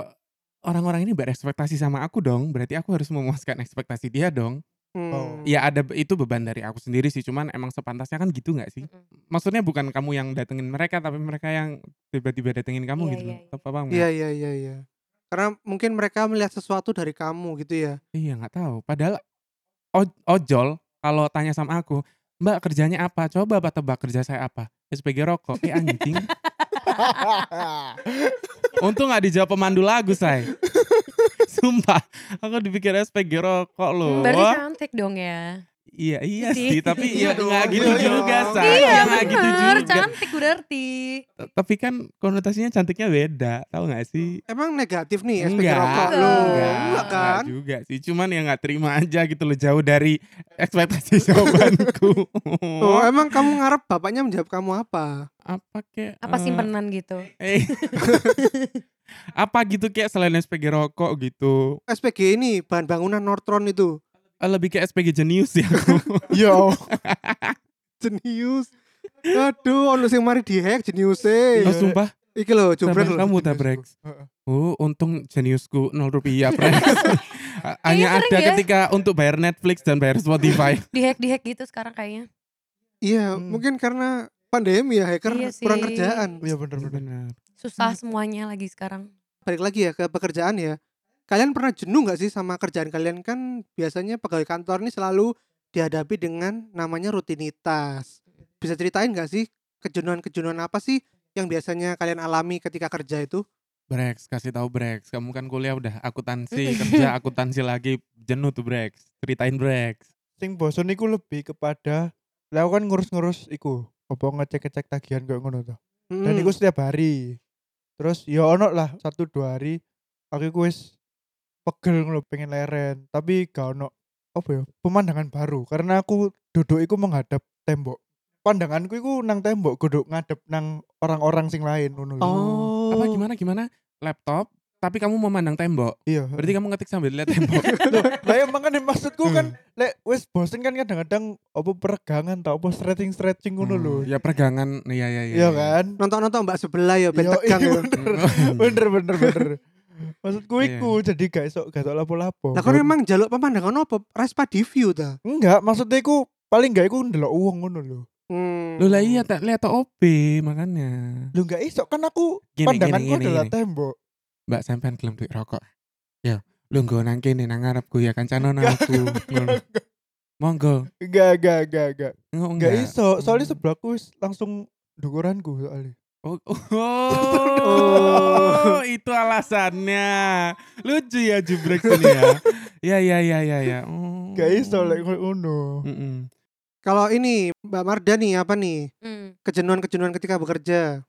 [SPEAKER 4] orang-orang ini berekspektasi sama aku dong berarti aku harus memuaskan ekspektasi dia dong
[SPEAKER 1] Hmm.
[SPEAKER 2] Oh.
[SPEAKER 4] Ya ada itu beban dari aku sendiri sih, cuman emang sepantasnya kan gitu nggak sih?
[SPEAKER 3] Mm-mm.
[SPEAKER 4] Maksudnya bukan kamu yang datengin mereka, tapi mereka yang tiba-tiba datengin kamu
[SPEAKER 3] Iya,
[SPEAKER 4] gitu.
[SPEAKER 3] iya,
[SPEAKER 4] loh. Apa paham nggak?
[SPEAKER 1] Iya iya iya iya. Karena mungkin mereka melihat sesuatu dari kamu gitu ya.
[SPEAKER 4] Iya nggak tahu. Padahal o- ojol kalau tanya sama aku, Mbak kerjanya apa? Coba apa tebak kerja saya apa? SPG rokok. Eh anjing. Untung nggak dijawab pemandu lagu saya. Sumpah, aku dipikir SPG rokok loh.
[SPEAKER 3] berarti kan
[SPEAKER 4] Wah,
[SPEAKER 3] cantik dong ya
[SPEAKER 4] iya iya
[SPEAKER 3] Sih.
[SPEAKER 4] sih, tapi
[SPEAKER 1] Iya
[SPEAKER 4] ya
[SPEAKER 1] dong,
[SPEAKER 4] nggak gitu
[SPEAKER 1] iya
[SPEAKER 4] juga
[SPEAKER 1] dong.
[SPEAKER 4] saya.
[SPEAKER 1] Iya,
[SPEAKER 4] nggak gitu
[SPEAKER 3] bener
[SPEAKER 4] juga.
[SPEAKER 3] cantik berarti
[SPEAKER 4] T- tapi kan konotasinya cantiknya beda tahu nggak sih
[SPEAKER 1] Emang negatif nih SPG
[SPEAKER 4] Enggak,
[SPEAKER 1] Hmm. Iya, rokok
[SPEAKER 3] Enggak.
[SPEAKER 1] lu.
[SPEAKER 4] enggak,
[SPEAKER 1] Enggak kan?
[SPEAKER 4] juga sih cuman ya nggak terima aja gitu loh jauh dari ekspektasi jawabanku
[SPEAKER 1] Oh, emang kamu ngarep bapaknya menjawab kamu apa?
[SPEAKER 4] apa kek
[SPEAKER 3] apa
[SPEAKER 4] eh,
[SPEAKER 3] simpenan gitu
[SPEAKER 4] eh, apa gitu kayak selain SPG rokok gitu
[SPEAKER 1] SPG ini bahan bangunan Nortron itu.
[SPEAKER 4] Eh, lebih kayak SPG jenius ya aku
[SPEAKER 2] Yo.
[SPEAKER 1] Jenius. Aduh, ono sing mari dihack jenius e.
[SPEAKER 4] oh, sumpah
[SPEAKER 1] Iki lho, jumbrek
[SPEAKER 4] sampai
[SPEAKER 1] lho.
[SPEAKER 4] kamu tabrek oh untung jeniusku 0 rupiah Preks. hanya
[SPEAKER 3] sering
[SPEAKER 4] ada
[SPEAKER 3] ya.
[SPEAKER 4] ketika untuk bayar Netflix dan bayar Spotify
[SPEAKER 3] dihack dihack gitu sekarang kayaknya
[SPEAKER 1] Iya,
[SPEAKER 2] Hmm.
[SPEAKER 1] mungkin karena pandemi ya hacker
[SPEAKER 3] Iya sih.
[SPEAKER 1] kurang kerjaan.
[SPEAKER 2] Iya bener-bener.
[SPEAKER 4] benar
[SPEAKER 3] susah semuanya lagi sekarang
[SPEAKER 1] Balik lagi ya ke pekerjaan ya. Kalian pernah jenuh nggak sih sama kerjaan kalian kan biasanya pegawai kantor ini selalu dihadapi dengan namanya rutinitas. Bisa ceritain nggak sih kejenuhan-kejenuhan apa sih yang biasanya kalian alami ketika kerja itu?
[SPEAKER 4] Brex, kasih tahu Brex. Kamu kan kuliah udah akuntansi, kerja akuntansi lagi. Jenuh tuh Brex. Ceritain Brex.
[SPEAKER 2] Sing bosen iku lebih kepada lah aku kan ngurus-ngurus iku, apa ngecek-ngecek tagihan kayak ngono to. Dan
[SPEAKER 4] Hmm.
[SPEAKER 1] Mm.
[SPEAKER 2] iku setiap hari. Terus ya ono lah satu dua hari aku iku wis pegel ngono pengen leren, tapi gak ono apa ya pemandangan baru karena aku duduk iku menghadap tembok. pandanganku iku nang tembok godok ngadep nang orang-orang sing lain ngono lho.
[SPEAKER 1] Oh.
[SPEAKER 4] Apa gimana gimana? Laptop tapi kamu memandang tembok.
[SPEAKER 2] Iya.
[SPEAKER 4] Berarti kamu ngetik sambil lihat tembok. Mm.
[SPEAKER 2] Loh, lah emang kan maksudku kan
[SPEAKER 4] Hmm.
[SPEAKER 2] lek wis bosen kan kadang-kadang apa peregangan tau apa stretching-stretching ngono lho.
[SPEAKER 4] Hmm, Ya pergangan. Iya iya iya.
[SPEAKER 2] Iya kan?
[SPEAKER 1] Nonton-nonton Mbak sebelah ya ben
[SPEAKER 2] Yo,
[SPEAKER 1] tegang
[SPEAKER 2] iya,
[SPEAKER 1] ya.
[SPEAKER 2] bener.
[SPEAKER 4] Hmm.
[SPEAKER 2] bener bener bener. Maksudku
[SPEAKER 4] Iya.
[SPEAKER 2] iku jadi gak esok gak esok lapo-lapo.
[SPEAKER 1] Lah kon emang jaluk pemandangan apa? Respa di view ta.
[SPEAKER 2] enggak, maksudnya iku paling enggak iku ndelok uang ngono lho.
[SPEAKER 1] Hmm.
[SPEAKER 4] Lu lah iya tak lihat tak OB makanya.
[SPEAKER 2] Lho enggak esok kan aku
[SPEAKER 4] Gini,
[SPEAKER 2] pandanganku
[SPEAKER 4] gini, gini,
[SPEAKER 2] adalah
[SPEAKER 4] gini.
[SPEAKER 2] tembok.
[SPEAKER 4] Mbak sampean gelem duit rokok. Ya, lu nggo nang kene nang ngarepku ya kancana nang aku. Ngono. Monggo.
[SPEAKER 2] Enggak enggak enggak enggak.
[SPEAKER 4] Ngo-
[SPEAKER 2] Enggak
[SPEAKER 4] Enggak
[SPEAKER 2] iso, soalnya
[SPEAKER 4] Hmm.
[SPEAKER 2] sebelahku wis langsung dukuranku soalnya.
[SPEAKER 4] Oh, oh, itu alasannya. Lucu ya jubrek ini ya. Ya ya ya ya ya. Oh.
[SPEAKER 2] Gak iso lek ngono.
[SPEAKER 4] Mm-mm.
[SPEAKER 1] Kalau ini Mbak Marda nih apa nih?
[SPEAKER 3] Hmm.
[SPEAKER 1] Kejenuhan-kejenuhan ketika bekerja.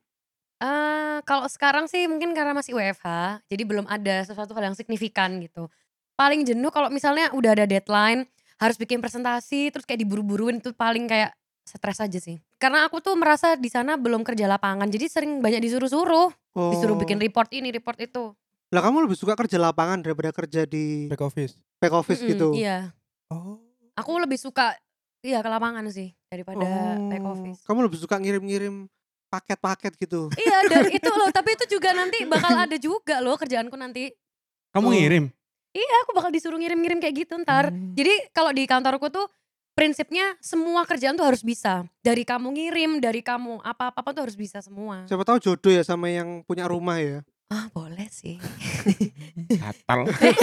[SPEAKER 3] Eh, kalau sekarang sih mungkin karena masih WFH, jadi belum ada sesuatu hal yang signifikan gitu. Paling jenuh kalau misalnya udah ada deadline, harus bikin presentasi, terus kayak diburu-buruin itu paling kayak stres aja sih. Karena aku tuh merasa di sana belum kerja lapangan, jadi sering banyak disuruh-suruh,
[SPEAKER 1] Oh.
[SPEAKER 3] disuruh bikin report ini, report itu.
[SPEAKER 1] Lah kamu lebih suka kerja lapangan daripada kerja di
[SPEAKER 2] Back office.
[SPEAKER 1] back office
[SPEAKER 3] Mm-mm,
[SPEAKER 1] gitu.
[SPEAKER 3] Iya,
[SPEAKER 2] Oh.
[SPEAKER 3] aku lebih suka iya ke lapangan sih daripada back
[SPEAKER 1] Oh,
[SPEAKER 3] office.
[SPEAKER 1] Kamu lebih suka ngirim-ngirim paket-paket gitu.
[SPEAKER 3] Iya, dan itu loh, tapi itu juga nanti bakal ada juga loh kerjaanku nanti.
[SPEAKER 1] Oh.
[SPEAKER 4] Kamu ngirim?
[SPEAKER 3] Iya, aku bakal disuruh ngirim-ngirim kayak gitu ntar.
[SPEAKER 4] Hmm.
[SPEAKER 3] Jadi kalau di kantorku tuh prinsipnya semua kerjaan tuh harus bisa. Dari kamu ngirim, dari kamu apa-apa tuh harus bisa semua.
[SPEAKER 1] Siapa tahu jodoh ya sama yang punya rumah ya.
[SPEAKER 3] Ah, boleh sih.
[SPEAKER 4] Gatal.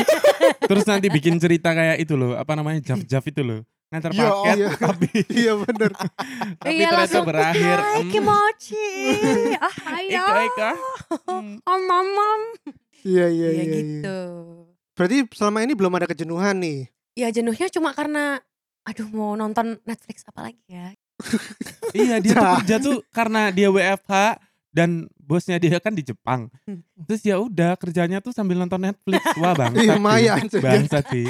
[SPEAKER 4] Terus nanti bikin cerita kayak itu loh, apa namanya? Jaf-jaf itu loh. Ngantar
[SPEAKER 2] Ya
[SPEAKER 4] paket
[SPEAKER 1] Allah.
[SPEAKER 4] tapi
[SPEAKER 1] iya bener.
[SPEAKER 4] tapi
[SPEAKER 3] Iya,
[SPEAKER 4] ternyata
[SPEAKER 3] langsung,
[SPEAKER 4] berakhir.
[SPEAKER 3] Hai
[SPEAKER 4] mm,
[SPEAKER 3] kimochi. Ah,
[SPEAKER 2] Ya.
[SPEAKER 3] ayo.
[SPEAKER 4] Ika Ika. Mm.
[SPEAKER 3] Oh, mamam.
[SPEAKER 1] Iya iya
[SPEAKER 3] Ya,
[SPEAKER 1] iya. iya.
[SPEAKER 3] gitu.
[SPEAKER 1] Berarti selama ini belum ada kejenuhan nih.
[SPEAKER 3] Ya jenuhnya cuma karena aduh mau nonton Netflix apa lagi ya.
[SPEAKER 4] Iya dia tuh
[SPEAKER 1] Jah.
[SPEAKER 4] kerja tuh karena dia WFH dan bosnya dia kan di Jepang. Terus ya udah kerjanya tuh sambil nonton Netflix. Wah bangsat.
[SPEAKER 1] Iya,
[SPEAKER 4] Bi.
[SPEAKER 1] lumayan sih.
[SPEAKER 4] Bangsat sih.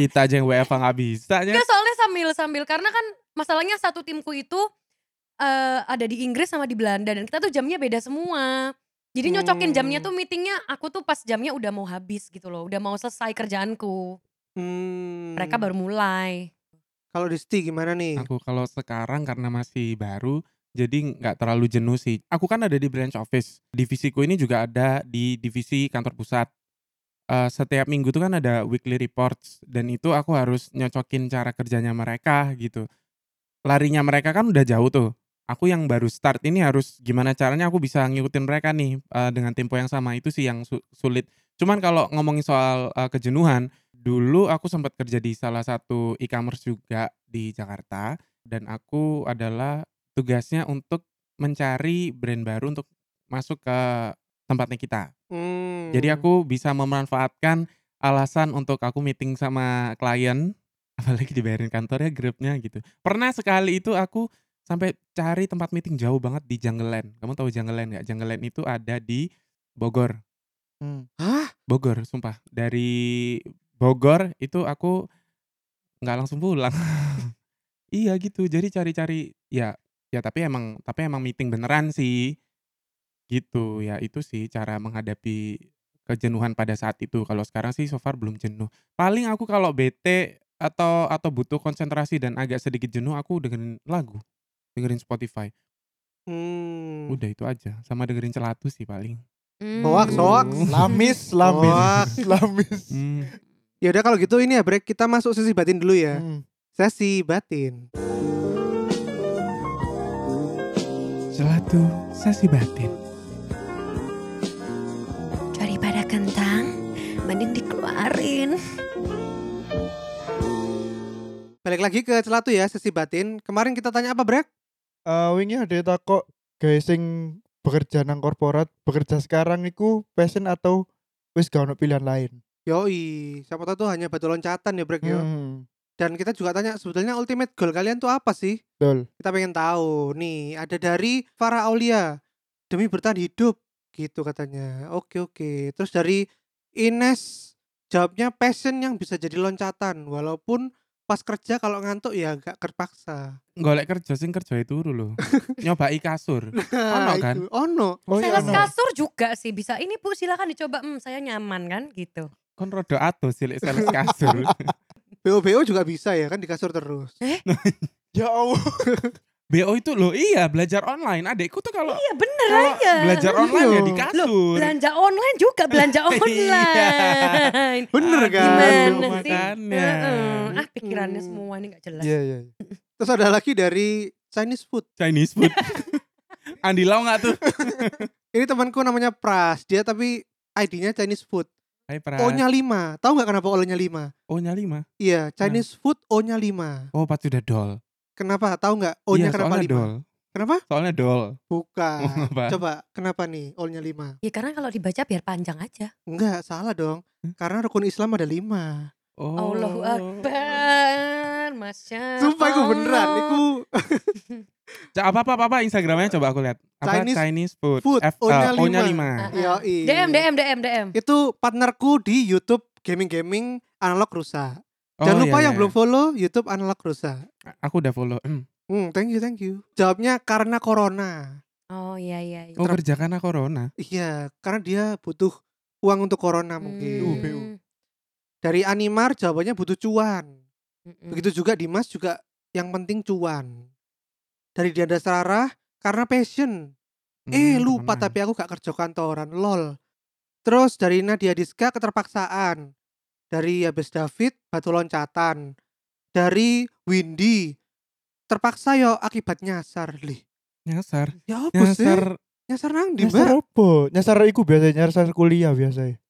[SPEAKER 4] Kita aja yang WFH nggak bisa. Ya.
[SPEAKER 3] Enggak soalnya sambil-sambil karena kan masalahnya satu timku itu eh, ada di Inggris sama di Belanda dan kita tuh jamnya beda semua. Jadi nyocokin
[SPEAKER 1] Hmm.
[SPEAKER 3] jamnya tuh meetingnya aku tuh pas jamnya udah mau habis gitu loh, udah mau selesai kerjaanku.
[SPEAKER 1] Hmm.
[SPEAKER 3] Mereka baru mulai.
[SPEAKER 1] Kalau di Sti gimana nih?
[SPEAKER 4] Aku kalau sekarang karena masih baru jadi nggak terlalu jenuh sih. Aku kan ada di branch office. Divisiku ini juga ada di divisi kantor pusat. Eh, setiap minggu tuh kan ada weekly reports dan itu aku harus nyocokin cara kerjanya mereka gitu. Larinya mereka kan udah jauh tuh. Aku yang baru start ini harus gimana caranya aku bisa ngikutin mereka nih eh, dengan tempo yang sama itu sih yang su- sulit. Cuman kalau ngomongin soal eh, kejenuhan, dulu aku sempat kerja di salah satu e-commerce juga di Jakarta dan aku adalah tugasnya untuk mencari brand baru untuk masuk ke tempatnya kita.
[SPEAKER 1] Hmm.
[SPEAKER 4] Jadi aku bisa memanfaatkan alasan untuk aku meeting sama klien, apalagi dibayarin kantornya, grabnya gitu. Pernah sekali itu aku sampai cari tempat meeting jauh banget di Jungleland. Kamu tahu Jungleland nggak? Jungleland itu ada di Bogor.
[SPEAKER 2] Hmm.
[SPEAKER 1] Hah?
[SPEAKER 4] Bogor, sumpah. Dari Bogor itu aku nggak langsung pulang. iya gitu. Jadi cari-cari ya ya tapi emang tapi emang meeting beneran sih. Gitu ya itu sih cara menghadapi kejenuhan pada saat itu. Kalau sekarang sih so far belum jenuh. Paling aku kalau bete atau atau butuh konsentrasi dan agak sedikit jenuh aku dengerin lagu, dengerin Spotify.
[SPEAKER 1] Hmm.
[SPEAKER 4] Udah itu aja. Sama dengerin celatu sih paling.
[SPEAKER 3] Hmm.
[SPEAKER 1] Hoax, hoax.
[SPEAKER 2] Lamis, lamis.
[SPEAKER 1] Wah.
[SPEAKER 2] lamis.
[SPEAKER 4] Hmm.
[SPEAKER 1] Ya udah kalau gitu ini ya break kita masuk sesi batin dulu ya.
[SPEAKER 2] Hmm.
[SPEAKER 1] Sesi batin.
[SPEAKER 4] Celatu sesi batin.
[SPEAKER 3] Daripada kentang, mending dikeluarin.
[SPEAKER 1] Balik lagi ke celatu ya sesi batin. Kemarin kita tanya apa break?
[SPEAKER 2] Eh, wingi ada yang takok guys sing bekerja nang korporat, bekerja sekarang iku passion atau wis gak ono pilihan lain.
[SPEAKER 1] Yoi, siapa tahu tuh hanya batu loncatan ya break ya.
[SPEAKER 2] Hmm.
[SPEAKER 1] Dan kita juga tanya sebetulnya ultimate goal kalian tuh apa sih?
[SPEAKER 2] Betul.
[SPEAKER 1] Kita pengen tahu. Nih, ada dari Farah Aulia. Demi bertahan hidup gitu katanya. Oke, oke. Terus dari Ines jawabnya passion yang bisa jadi loncatan walaupun pas kerja kalau ngantuk ya gak terpaksa.
[SPEAKER 4] golek kerja sing kerja e itu dulu nyobai kasur Ono kan?
[SPEAKER 1] Nah, Itu, Ono.
[SPEAKER 2] Oh
[SPEAKER 3] Sales
[SPEAKER 2] ono.
[SPEAKER 3] kasur juga sih bisa. Ini Bu silakan dicoba. Hmm, saya nyaman kan gitu.
[SPEAKER 4] kon rodo atos sih lek sales kasur
[SPEAKER 1] BO-BO juga bisa ya kan di kasur terus.
[SPEAKER 2] Ya Allah.
[SPEAKER 4] bo itu loh iya belajar online adekku tuh kalau
[SPEAKER 3] Iya bener
[SPEAKER 4] kalau
[SPEAKER 3] aja.
[SPEAKER 4] belajar online ya di
[SPEAKER 1] Loh,
[SPEAKER 4] kasur
[SPEAKER 3] Belanja online juga belanja online.
[SPEAKER 1] Bener
[SPEAKER 4] Aduh,
[SPEAKER 1] kan?
[SPEAKER 3] Gimana sih?
[SPEAKER 4] makanya.
[SPEAKER 3] Heeh. Ah pikirannya
[SPEAKER 1] Mm.
[SPEAKER 3] semua ini gak jelas.
[SPEAKER 2] Iya iya.
[SPEAKER 1] Terus ada lagi dari Chinese food.
[SPEAKER 4] Chinese food Andi Lau nggak tuh
[SPEAKER 1] Ini temanku namanya Pras. Dia tapi ID-nya Chinese food.
[SPEAKER 4] Hai Pras
[SPEAKER 1] O-nya 5. Tahu nggak kenapa O-nya 5?
[SPEAKER 4] O-nya lima
[SPEAKER 1] Iya, Chinese food O-nya 5.
[SPEAKER 4] oh pas sudah dol
[SPEAKER 1] Kenapa? Tahu nggak O-nya
[SPEAKER 4] Iya,
[SPEAKER 1] kenapa 5?
[SPEAKER 4] soalnya dol
[SPEAKER 1] Kenapa?
[SPEAKER 4] soalnya dol
[SPEAKER 1] Bukan.
[SPEAKER 4] Apa?
[SPEAKER 1] Coba kenapa nih O-nya 5?
[SPEAKER 3] Ya karena kalau dibaca biar panjang aja.
[SPEAKER 1] Enggak, salah dong.
[SPEAKER 4] Hmm?
[SPEAKER 1] Karena rukun Islam ada 5.
[SPEAKER 4] oh.
[SPEAKER 3] Allahu Akbar. Masya
[SPEAKER 1] Sumpah itu beneran,
[SPEAKER 3] Allah.
[SPEAKER 1] itu
[SPEAKER 4] Ca- apa apa apa, apa Instagramnya coba aku lihat apa
[SPEAKER 1] Chinese
[SPEAKER 4] Chinese, food,
[SPEAKER 1] food,
[SPEAKER 4] F-
[SPEAKER 1] O-nya
[SPEAKER 4] eh, O-nya
[SPEAKER 1] lima.
[SPEAKER 4] lima
[SPEAKER 3] Ah, ah.
[SPEAKER 1] yoi.
[SPEAKER 3] DM DM DM DM.
[SPEAKER 1] Itu partnerku di YouTube gaming-gaming analog rusak. Jangan
[SPEAKER 4] Oh,
[SPEAKER 1] lupa
[SPEAKER 4] iya,
[SPEAKER 1] yang
[SPEAKER 4] iya.
[SPEAKER 1] belum follow YouTube analog rusak.
[SPEAKER 4] aku udah follow Hmm.
[SPEAKER 1] Hmm, thank you, thank you. Jawabnya karena corona.
[SPEAKER 3] Oh iya iya. iya.
[SPEAKER 4] oh kerja karena corona
[SPEAKER 1] Iya, karena dia butuh uang untuk corona mungkin.
[SPEAKER 2] Hmm. UBU.
[SPEAKER 1] Dari Animar jawabannya butuh cuan.
[SPEAKER 3] Mm-mm.
[SPEAKER 4] Hmm.
[SPEAKER 1] Begitu juga Dimas juga yang penting cuan. Dari Dianda Sarah karena passion. eh,
[SPEAKER 4] Hmm,
[SPEAKER 1] lupa
[SPEAKER 4] tenang.
[SPEAKER 1] tapi aku gak kerja kantoran, lol. Terus dari Nadia Diska keterpaksaan. Dari Yabes David batu loncatan. Dari Windy terpaksa yo akibat nyasar lih.
[SPEAKER 4] nyasar
[SPEAKER 1] Ya apa sih?
[SPEAKER 4] nyasar
[SPEAKER 1] Nyasar nang di
[SPEAKER 2] Nyasar
[SPEAKER 1] mbak?
[SPEAKER 2] opo? Nyasar iku biasanya nyasar kuliah biasanya.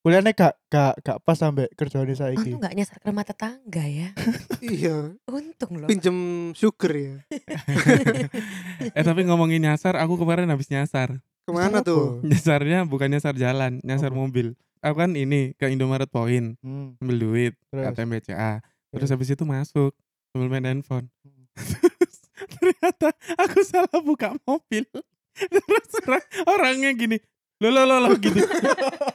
[SPEAKER 2] Kuliahnya gak gak gak pas sampai kerjaannya saiki.
[SPEAKER 3] Untung gak Oh, nyasar ke rumah tetangga ya.
[SPEAKER 1] Iya,
[SPEAKER 3] Untung loh.
[SPEAKER 1] pinjem sugar ya.
[SPEAKER 4] eh tapi ngomongin nyasar aku kemarin habis nyasar
[SPEAKER 1] Kemana
[SPEAKER 2] Nyasar
[SPEAKER 1] tuh?
[SPEAKER 2] opo?
[SPEAKER 4] nyasarnya bukan nyasar jalan nyasar
[SPEAKER 2] Apa?
[SPEAKER 1] Oh.
[SPEAKER 4] mobil aku kan ini ke Indomaret Point
[SPEAKER 2] Hmm,
[SPEAKER 4] ambil duit
[SPEAKER 2] terus.
[SPEAKER 4] KTM BCA terus
[SPEAKER 2] Terus.
[SPEAKER 4] habis itu masuk sambil main handphone
[SPEAKER 2] Hmm.
[SPEAKER 4] Terus ternyata aku salah buka mobil terus orang- orangnya gini lo lo lo lo gitu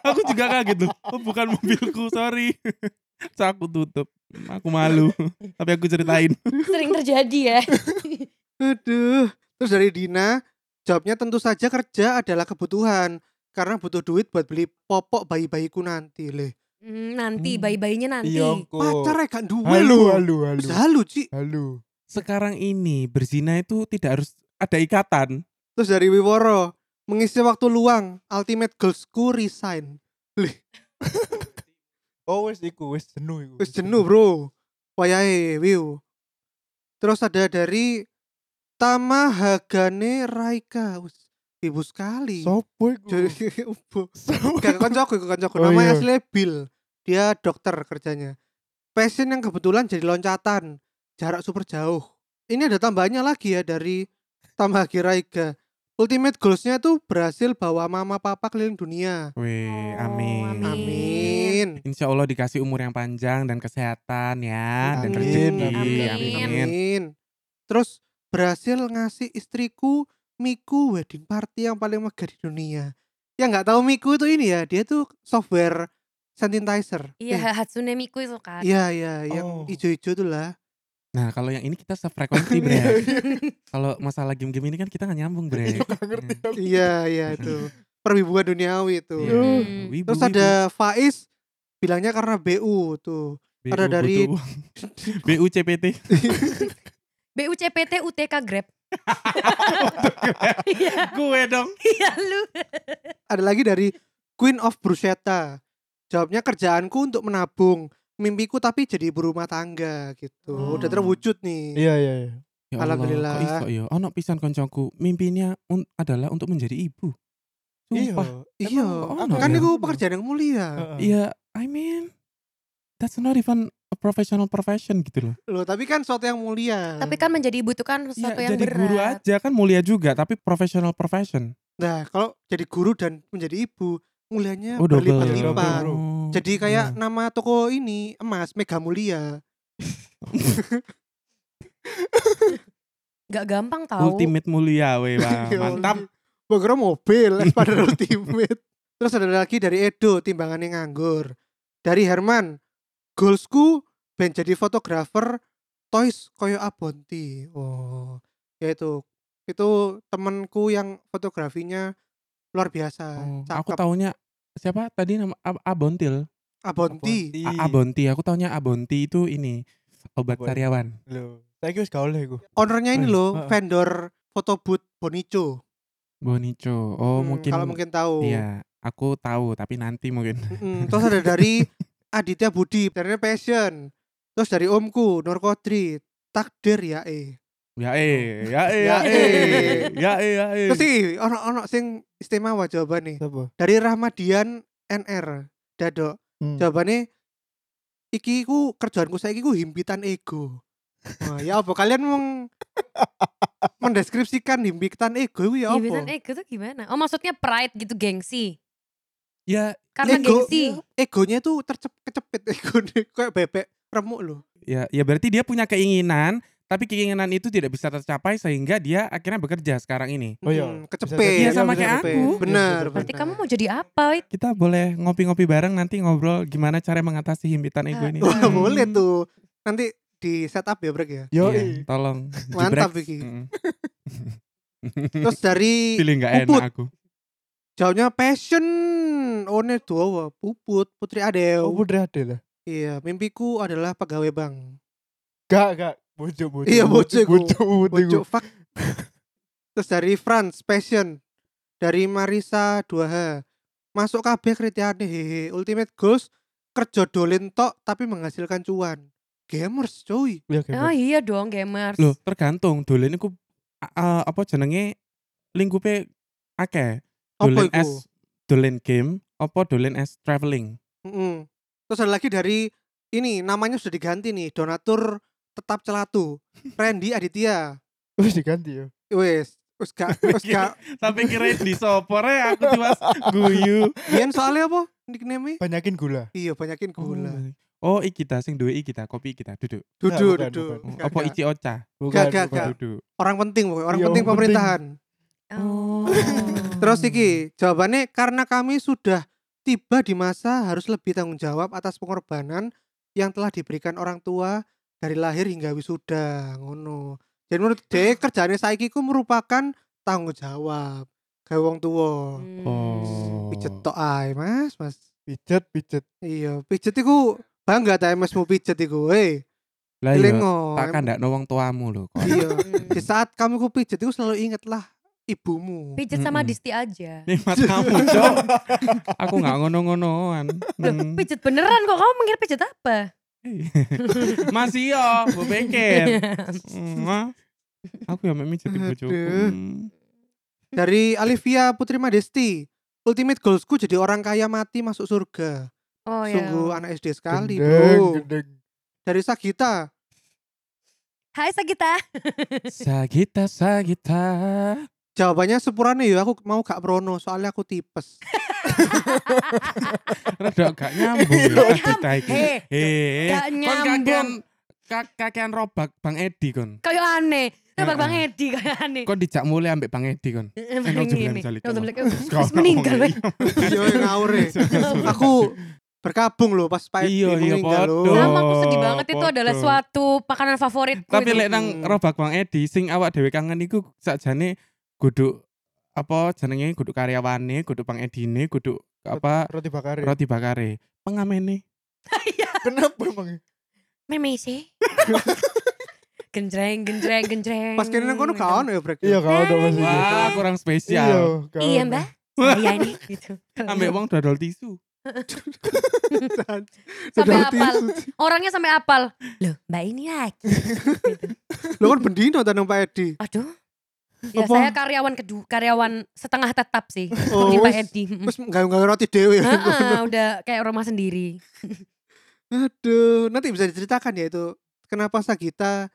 [SPEAKER 4] aku juga kaget loh oh, bukan mobilku sorry Terus aku tutup aku malu tapi aku ceritain
[SPEAKER 3] Sering terjadi ya.
[SPEAKER 1] Aduh. Terus dari Dina, jawabnya tentu saja kerja adalah kebutuhan. Karena butuh duit buat beli popok bayi-bayiku nanti. Leh.
[SPEAKER 3] Hmm, nanti
[SPEAKER 4] Hmm.
[SPEAKER 3] bayi-bayinya nanti.
[SPEAKER 2] Iyongko.
[SPEAKER 1] Pacar ya gak duwe
[SPEAKER 2] Iya, Oh. Halu
[SPEAKER 1] lho.
[SPEAKER 2] halu halu.
[SPEAKER 1] Wis Halu, Ci.
[SPEAKER 2] Halu.
[SPEAKER 4] sekarang ini berzina itu tidak harus ada ikatan
[SPEAKER 1] Terus dari Wiworo, mengisi waktu luang, ultimate goalsku resign.
[SPEAKER 2] Oh wis iku wis jenuh iku.
[SPEAKER 1] Terus jenuh bro. Wayahe, Wiw. Terus ada dari Tama Hagane Raika. Wis, Ibu sekali.
[SPEAKER 2] Sopo iku?
[SPEAKER 1] Jadi ubo.
[SPEAKER 2] Sopo
[SPEAKER 1] Gak koncoku, iku koncoku.
[SPEAKER 2] Oh,
[SPEAKER 1] Namanya
[SPEAKER 2] iya.
[SPEAKER 1] aslinya Bill. Dia dokter kerjanya. Passion yang kebetulan jadi loncatan. Jarak super jauh. Ini ada tambahannya lagi ya dari tambah Giraiga. Ultimate goalsnya tuh berhasil bawa mama papa keliling dunia.
[SPEAKER 4] Weh,
[SPEAKER 3] Oh,
[SPEAKER 4] amin.
[SPEAKER 3] amin.
[SPEAKER 1] Amin.
[SPEAKER 4] Insya Allah dikasih umur yang panjang dan kesehatan ya dan
[SPEAKER 2] Amin,
[SPEAKER 4] rezeki.
[SPEAKER 3] amin.
[SPEAKER 4] amin.
[SPEAKER 1] Amin. Terus berhasil ngasih istriku Miku wedding party yang paling megah di dunia. Yang nggak tahu Miku itu ini ya, dia tuh software sanitizer.
[SPEAKER 3] Iya,
[SPEAKER 1] Eh,
[SPEAKER 3] Hatsune Miku itu kan.
[SPEAKER 1] Iya iya yang
[SPEAKER 2] Oh.
[SPEAKER 1] ijo-ijo tuh lah.
[SPEAKER 4] Nah kalau yang ini kita sefrekuensi bre. kalau masalah game-game ini kan kita nggak nyambung bre.
[SPEAKER 2] Gak ngerti tapi.
[SPEAKER 1] iya iya itu. Perwibuan duniawi itu.
[SPEAKER 4] Iya.
[SPEAKER 3] Duh.
[SPEAKER 4] Wibu,
[SPEAKER 1] Terus
[SPEAKER 4] wibu.
[SPEAKER 1] ada Faiz bilangnya karena BU tuh.
[SPEAKER 4] BU,
[SPEAKER 1] ada dari-
[SPEAKER 4] butuh uang. BU CPT.
[SPEAKER 3] BUCPT UTK Grab. Iya,
[SPEAKER 4] Gue dong.
[SPEAKER 3] iya lu.
[SPEAKER 1] Ada lagi dari Queen of Bruschetta. Jawabnya kerjaanku untuk menabung, mimpiku tapi jadi ibu rumah tangga gitu.
[SPEAKER 3] Oh.
[SPEAKER 1] Udah terwujud nih.
[SPEAKER 2] Iya iya iya.
[SPEAKER 4] Ya Allah,
[SPEAKER 1] Alhamdulillah.
[SPEAKER 4] Kok iso ya? Ono pisan koncoku. Mimpinya un- adalah untuk menjadi ibu. Sumpah.
[SPEAKER 1] Iya,
[SPEAKER 2] Oh,
[SPEAKER 4] Emang ono
[SPEAKER 1] kan
[SPEAKER 4] ya?
[SPEAKER 1] itu pekerjaan yang mulia.
[SPEAKER 2] Heeh.
[SPEAKER 4] Iya. I mean, that's not even a professional profession gitu loh.
[SPEAKER 1] Loh, tapi kan sesuatu yang mulia.
[SPEAKER 3] Tapi kan menjadi ibu itu kan sesuatu
[SPEAKER 4] Ya,
[SPEAKER 3] yang
[SPEAKER 4] jadi
[SPEAKER 3] berat.
[SPEAKER 4] guru aja kan mulia juga, tapi professional profession.
[SPEAKER 1] nah, kalau jadi guru dan menjadi ibu, mulianya
[SPEAKER 4] Oh double.
[SPEAKER 1] berlipat-lipat.
[SPEAKER 2] Double, bro.
[SPEAKER 4] Oh,
[SPEAKER 1] Iya, Jadi
[SPEAKER 4] iya.
[SPEAKER 1] kayak nama toko ini emas Mega Mulia.
[SPEAKER 3] Gak gampang tahu.
[SPEAKER 4] Ultimate mulia weh Bang.
[SPEAKER 1] Ya Allah.
[SPEAKER 4] Mantap.
[SPEAKER 1] Gua kira mobil pada Ultimate. Terus ada lagi dari Edo timbangannya nganggur. Dari Herman, goalsku ben jadi fotografer toys koyo abonti oh ya itu itu temanku yang fotografinya luar biasa
[SPEAKER 4] Oh, aku
[SPEAKER 1] cakep
[SPEAKER 4] taunya siapa tadi nama Ab- Abontil
[SPEAKER 1] Iya, abonti
[SPEAKER 2] Iya,
[SPEAKER 4] A- Abonti aku taunya Abonti itu ini obat
[SPEAKER 2] Obat.
[SPEAKER 4] sariawan
[SPEAKER 2] Lho, iya. saiki wis gaul iku.
[SPEAKER 1] ownernya ini
[SPEAKER 4] Eh,
[SPEAKER 1] loh
[SPEAKER 2] heeh.
[SPEAKER 1] vendor fotoboot Bonico
[SPEAKER 4] Bonico oh
[SPEAKER 1] Hmm,
[SPEAKER 4] mungkin
[SPEAKER 1] kalau mungkin tahu
[SPEAKER 4] iya aku tahu tapi nanti mungkin
[SPEAKER 1] Mm-mm. Hmm, terus ada dari Aditya Budi dari Passion terus dari omku Nur Kodri takdir ya eh
[SPEAKER 4] ya eh ya eh ya
[SPEAKER 1] Ya,
[SPEAKER 2] Iya.
[SPEAKER 4] eh
[SPEAKER 1] eh.
[SPEAKER 4] ya eh ya eh
[SPEAKER 1] terus sih ono ono sing istimewa jawabannya
[SPEAKER 2] Sapa?
[SPEAKER 1] dari Rahmadian NR Dadok
[SPEAKER 2] Hmm.
[SPEAKER 1] jawabannya iki ku kerjaanku saya ku himpitan ego Wah, ya apa kalian meng mendeskripsikan himpitan ego itu ya
[SPEAKER 3] Iya,
[SPEAKER 1] apa
[SPEAKER 3] biasanya ego tuh gimana? Oh maksudnya pride gitu gengsi.
[SPEAKER 4] ya
[SPEAKER 3] Karena
[SPEAKER 1] Ego.
[SPEAKER 3] gengsi.
[SPEAKER 4] iya.
[SPEAKER 1] egonya tuh tercep kecepit ego kayak bebek remuk loh
[SPEAKER 4] ya ya berarti dia punya keinginan tapi keinginan itu tidak bisa tercapai sehingga dia akhirnya bekerja sekarang ini
[SPEAKER 2] Oh iya,
[SPEAKER 1] Mm,
[SPEAKER 2] bisa
[SPEAKER 1] kecepit
[SPEAKER 2] jadi.
[SPEAKER 4] Iya,
[SPEAKER 1] Kecepit.
[SPEAKER 4] sama kayak aku.
[SPEAKER 1] bener
[SPEAKER 2] Iya, bisa jadi.
[SPEAKER 3] Berarti
[SPEAKER 1] bener.
[SPEAKER 3] kamu mau jadi apa? Wit?
[SPEAKER 4] kita boleh ngopi-ngopi bareng nanti ngobrol gimana cara mengatasi himpitan ego ini
[SPEAKER 1] Wah,
[SPEAKER 3] Hmm.
[SPEAKER 1] Eh, boleh tuh nanti di setup ya Brek ya
[SPEAKER 2] Yo,
[SPEAKER 4] Iya, tolong
[SPEAKER 1] mantap
[SPEAKER 4] Jebrek.
[SPEAKER 1] iki
[SPEAKER 4] Mm.
[SPEAKER 1] terus dari
[SPEAKER 4] Feeling nggak enak
[SPEAKER 1] Puput.
[SPEAKER 4] aku.
[SPEAKER 1] jauhnya passion one dua puput putri
[SPEAKER 2] oh
[SPEAKER 1] Adeo
[SPEAKER 2] Putri Adele.
[SPEAKER 1] iya mimpiku adalah pegawai bank
[SPEAKER 2] Gak, gak. Bojo, bojo.
[SPEAKER 1] Iya, bojo iku.
[SPEAKER 2] Bojo, bojo iku.
[SPEAKER 1] Pojok fuck. Terus dari France Passion dari Marisa 2H. Masuk kabeh kritiane hehe. Ultimate goals kerja dolin tok tapi menghasilkan cuan. Gamers cuy.
[SPEAKER 2] Iya,
[SPEAKER 3] Oh
[SPEAKER 2] gak.
[SPEAKER 3] iya dong gamers.
[SPEAKER 4] Loh, tergantung dolen iku a- a- apa jenenge lingkupe akeh.
[SPEAKER 1] Apa
[SPEAKER 4] Dolen
[SPEAKER 1] iku?
[SPEAKER 4] es dolen game apa dolen es traveling.
[SPEAKER 1] Mm-mm. Terus ada lagi dari ini namanya sudah diganti nih donatur tetap celatu Randy Aditya
[SPEAKER 2] Wis diganti yo.
[SPEAKER 1] wes wes gak wes gak
[SPEAKER 2] Iya.
[SPEAKER 4] Sampai kira di sopore aku tiwas guyu.
[SPEAKER 1] Bian soalnya apa nickname
[SPEAKER 2] Banyakin gula.
[SPEAKER 1] iya banyakin gula
[SPEAKER 2] Hmm.
[SPEAKER 4] Oh, iki ta sing duwe iki ta, kopi iki ta, duduk.
[SPEAKER 1] duduk
[SPEAKER 2] bukan,
[SPEAKER 1] duduk
[SPEAKER 2] bukan.
[SPEAKER 1] Gak,
[SPEAKER 4] Apa
[SPEAKER 1] gak.
[SPEAKER 4] ici ocha,
[SPEAKER 1] Gak, gak, gak.
[SPEAKER 4] duduk.
[SPEAKER 1] orang penting pokoknya orang
[SPEAKER 2] Iya,
[SPEAKER 1] penting
[SPEAKER 2] orang penting.
[SPEAKER 1] pemerintahan
[SPEAKER 3] Oh.
[SPEAKER 1] Terus
[SPEAKER 4] Hmm.
[SPEAKER 1] iki jawabannya karena kami sudah tiba di masa harus lebih tanggung jawab atas pengorbanan yang telah diberikan orang tua dari lahir hingga wisuda ngono. Jadi menurut dek kerjane saiki ku merupakan tanggung jawab gawe wong tuwa.
[SPEAKER 3] Hmm.
[SPEAKER 4] Oh.
[SPEAKER 1] Pijet tok ae, Mas, Mas.
[SPEAKER 2] Pijet, pijet.
[SPEAKER 1] Iya, pijet iku bangga ta MS mu pijet iku. Hei,
[SPEAKER 4] Lah yo,
[SPEAKER 1] elingo.
[SPEAKER 4] tak kandakno wong tuamu lho kok.
[SPEAKER 1] Iya. Di
[SPEAKER 3] Hmm.
[SPEAKER 1] saat kamu ku pijet iku selalu ingatlah ibumu.
[SPEAKER 3] Pijet sama
[SPEAKER 4] Mm-mm.
[SPEAKER 3] Disti aja.
[SPEAKER 4] Nikmat kamu, Cok. Aku nggak ngono-ngonoan.
[SPEAKER 3] Loh,
[SPEAKER 4] Hmm.
[SPEAKER 3] pijet beneran kok kamu mengira pijet apa?
[SPEAKER 4] Masih yo, gue pikir. Mwah. Aku ya mek mijet ibu
[SPEAKER 1] Aduh.
[SPEAKER 4] bojoku. Hmm.
[SPEAKER 1] Dari Alivia Putri Madesti. Ultimate goalsku jadi orang kaya mati masuk surga.
[SPEAKER 3] Oh ya.
[SPEAKER 1] Sungguh anak SD sekali,
[SPEAKER 2] Gendeng,
[SPEAKER 1] Bro.
[SPEAKER 2] gendeng.
[SPEAKER 1] Dari Sagita.
[SPEAKER 3] Hai Sagita.
[SPEAKER 4] Sagita Sagita.
[SPEAKER 1] Jawabannya sepurane ya aku mau gak prono soalnya aku tipes.
[SPEAKER 4] Rada gak nyambung
[SPEAKER 2] Iya.
[SPEAKER 4] ya Sagita iki.
[SPEAKER 3] Eh,
[SPEAKER 4] Eh,
[SPEAKER 3] gak
[SPEAKER 4] kon kakean
[SPEAKER 3] nyambung.
[SPEAKER 4] ka- kakean robak Bang Edi kon.
[SPEAKER 3] Kayak aneh. Nah,
[SPEAKER 4] Heeh.
[SPEAKER 3] Bang Bang Edi kayak aneh.
[SPEAKER 4] Kon dijak mulai ambek Bang Edi kon.
[SPEAKER 3] Emang
[SPEAKER 4] Nauzubillah
[SPEAKER 3] ini.
[SPEAKER 4] minzalik.
[SPEAKER 3] Nauzubillah.
[SPEAKER 4] Kau-
[SPEAKER 3] Terus meninggal.
[SPEAKER 4] Iya.
[SPEAKER 1] Yo ngawur ya. Aku berkabung loh pas Pak Edi
[SPEAKER 4] Iya, iya,
[SPEAKER 1] meninggal
[SPEAKER 4] podo.
[SPEAKER 1] loh.
[SPEAKER 3] Sama aku sedih banget itu
[SPEAKER 4] foto.
[SPEAKER 3] adalah suatu makanan favoritku.
[SPEAKER 4] Tapi
[SPEAKER 3] itu.
[SPEAKER 4] lek nang robak Bang Edi sing awak dhewe kangen iku sakjane guduk apa jenenge guduk karyawane, guduk Bang Edine, guduk apa
[SPEAKER 2] Roti bakar. ya.
[SPEAKER 4] roti bakare. Pengamene
[SPEAKER 2] Kenapa emang?
[SPEAKER 3] Meme sih. genjreng, genjreng, genjreng.
[SPEAKER 1] Pas kene nang kono gak ono ya, Brek.
[SPEAKER 2] Iya, kau ada masih.
[SPEAKER 4] Wah, kurang
[SPEAKER 2] Iya,
[SPEAKER 4] spesial.
[SPEAKER 2] gak
[SPEAKER 3] Iya
[SPEAKER 2] ono.
[SPEAKER 3] mbak. Iya ini gitu.
[SPEAKER 4] Ambek wong dodol tisu.
[SPEAKER 3] Sampai
[SPEAKER 1] Sedot
[SPEAKER 3] apal.
[SPEAKER 1] tisu.
[SPEAKER 3] Orangnya sampai apal. Loh mbak ini lagi. Gitu.
[SPEAKER 1] Lo kan bendino ta nang Pak Edi.
[SPEAKER 3] Aduh. Ya
[SPEAKER 1] Apa?
[SPEAKER 3] saya karyawan kedua, karyawan setengah tetap sih.
[SPEAKER 1] Oh,
[SPEAKER 3] di Pak
[SPEAKER 1] wis-
[SPEAKER 3] Edi.
[SPEAKER 1] Wis gawe-gawe roti dhewe ya.
[SPEAKER 3] Heeh, udah kayak rumah sendiri.
[SPEAKER 1] Aduh, nanti bisa diceritakan ya itu kenapa Sagita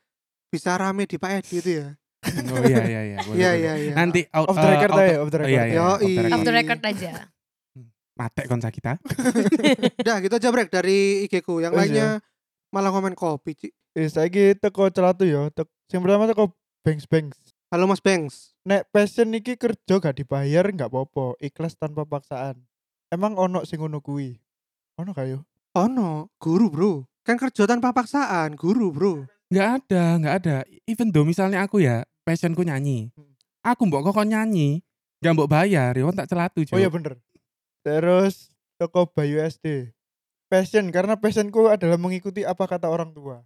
[SPEAKER 1] bisa rame di Pak Edi itu ya.
[SPEAKER 4] Oh iya iya iya. boleh,
[SPEAKER 1] Iya
[SPEAKER 4] boleh.
[SPEAKER 1] iya iya.
[SPEAKER 4] Nanti out,
[SPEAKER 2] Off the
[SPEAKER 4] eh,
[SPEAKER 2] record
[SPEAKER 4] out-
[SPEAKER 2] aja, ya, off the
[SPEAKER 4] oh,
[SPEAKER 2] record.
[SPEAKER 4] iya iya.
[SPEAKER 1] Yoi.
[SPEAKER 4] off the record.
[SPEAKER 3] Off the record aja.
[SPEAKER 4] Matek kon kita.
[SPEAKER 1] Udah gitu aja break dari IG ku Yang
[SPEAKER 2] Wes,
[SPEAKER 1] lainnya malah komen kopi Ci.
[SPEAKER 2] Eh, saiki teko celatu yo. Tek sing pertama teko bangs bangs.
[SPEAKER 1] Halo Mas Bengs
[SPEAKER 2] Nek passion iki kerja gak dibayar nggak popo, ikhlas tanpa paksaan. Emang ono sing ngono kuwi. Ono gak yo?
[SPEAKER 1] Ono guru bro Kan kerja tanpa paksaan, guru bro.
[SPEAKER 4] nggak ada nggak ada even though misalnya aku ya passionku nyanyi
[SPEAKER 2] Hmm.
[SPEAKER 4] aku mbok kok nyanyi nggak mbok bayar ya wong tak celatu
[SPEAKER 2] Oh iya
[SPEAKER 4] Cuk.
[SPEAKER 2] bener. Terus toko Bayu SD. Passion karena passionku adalah mengikuti apa kata orang tua.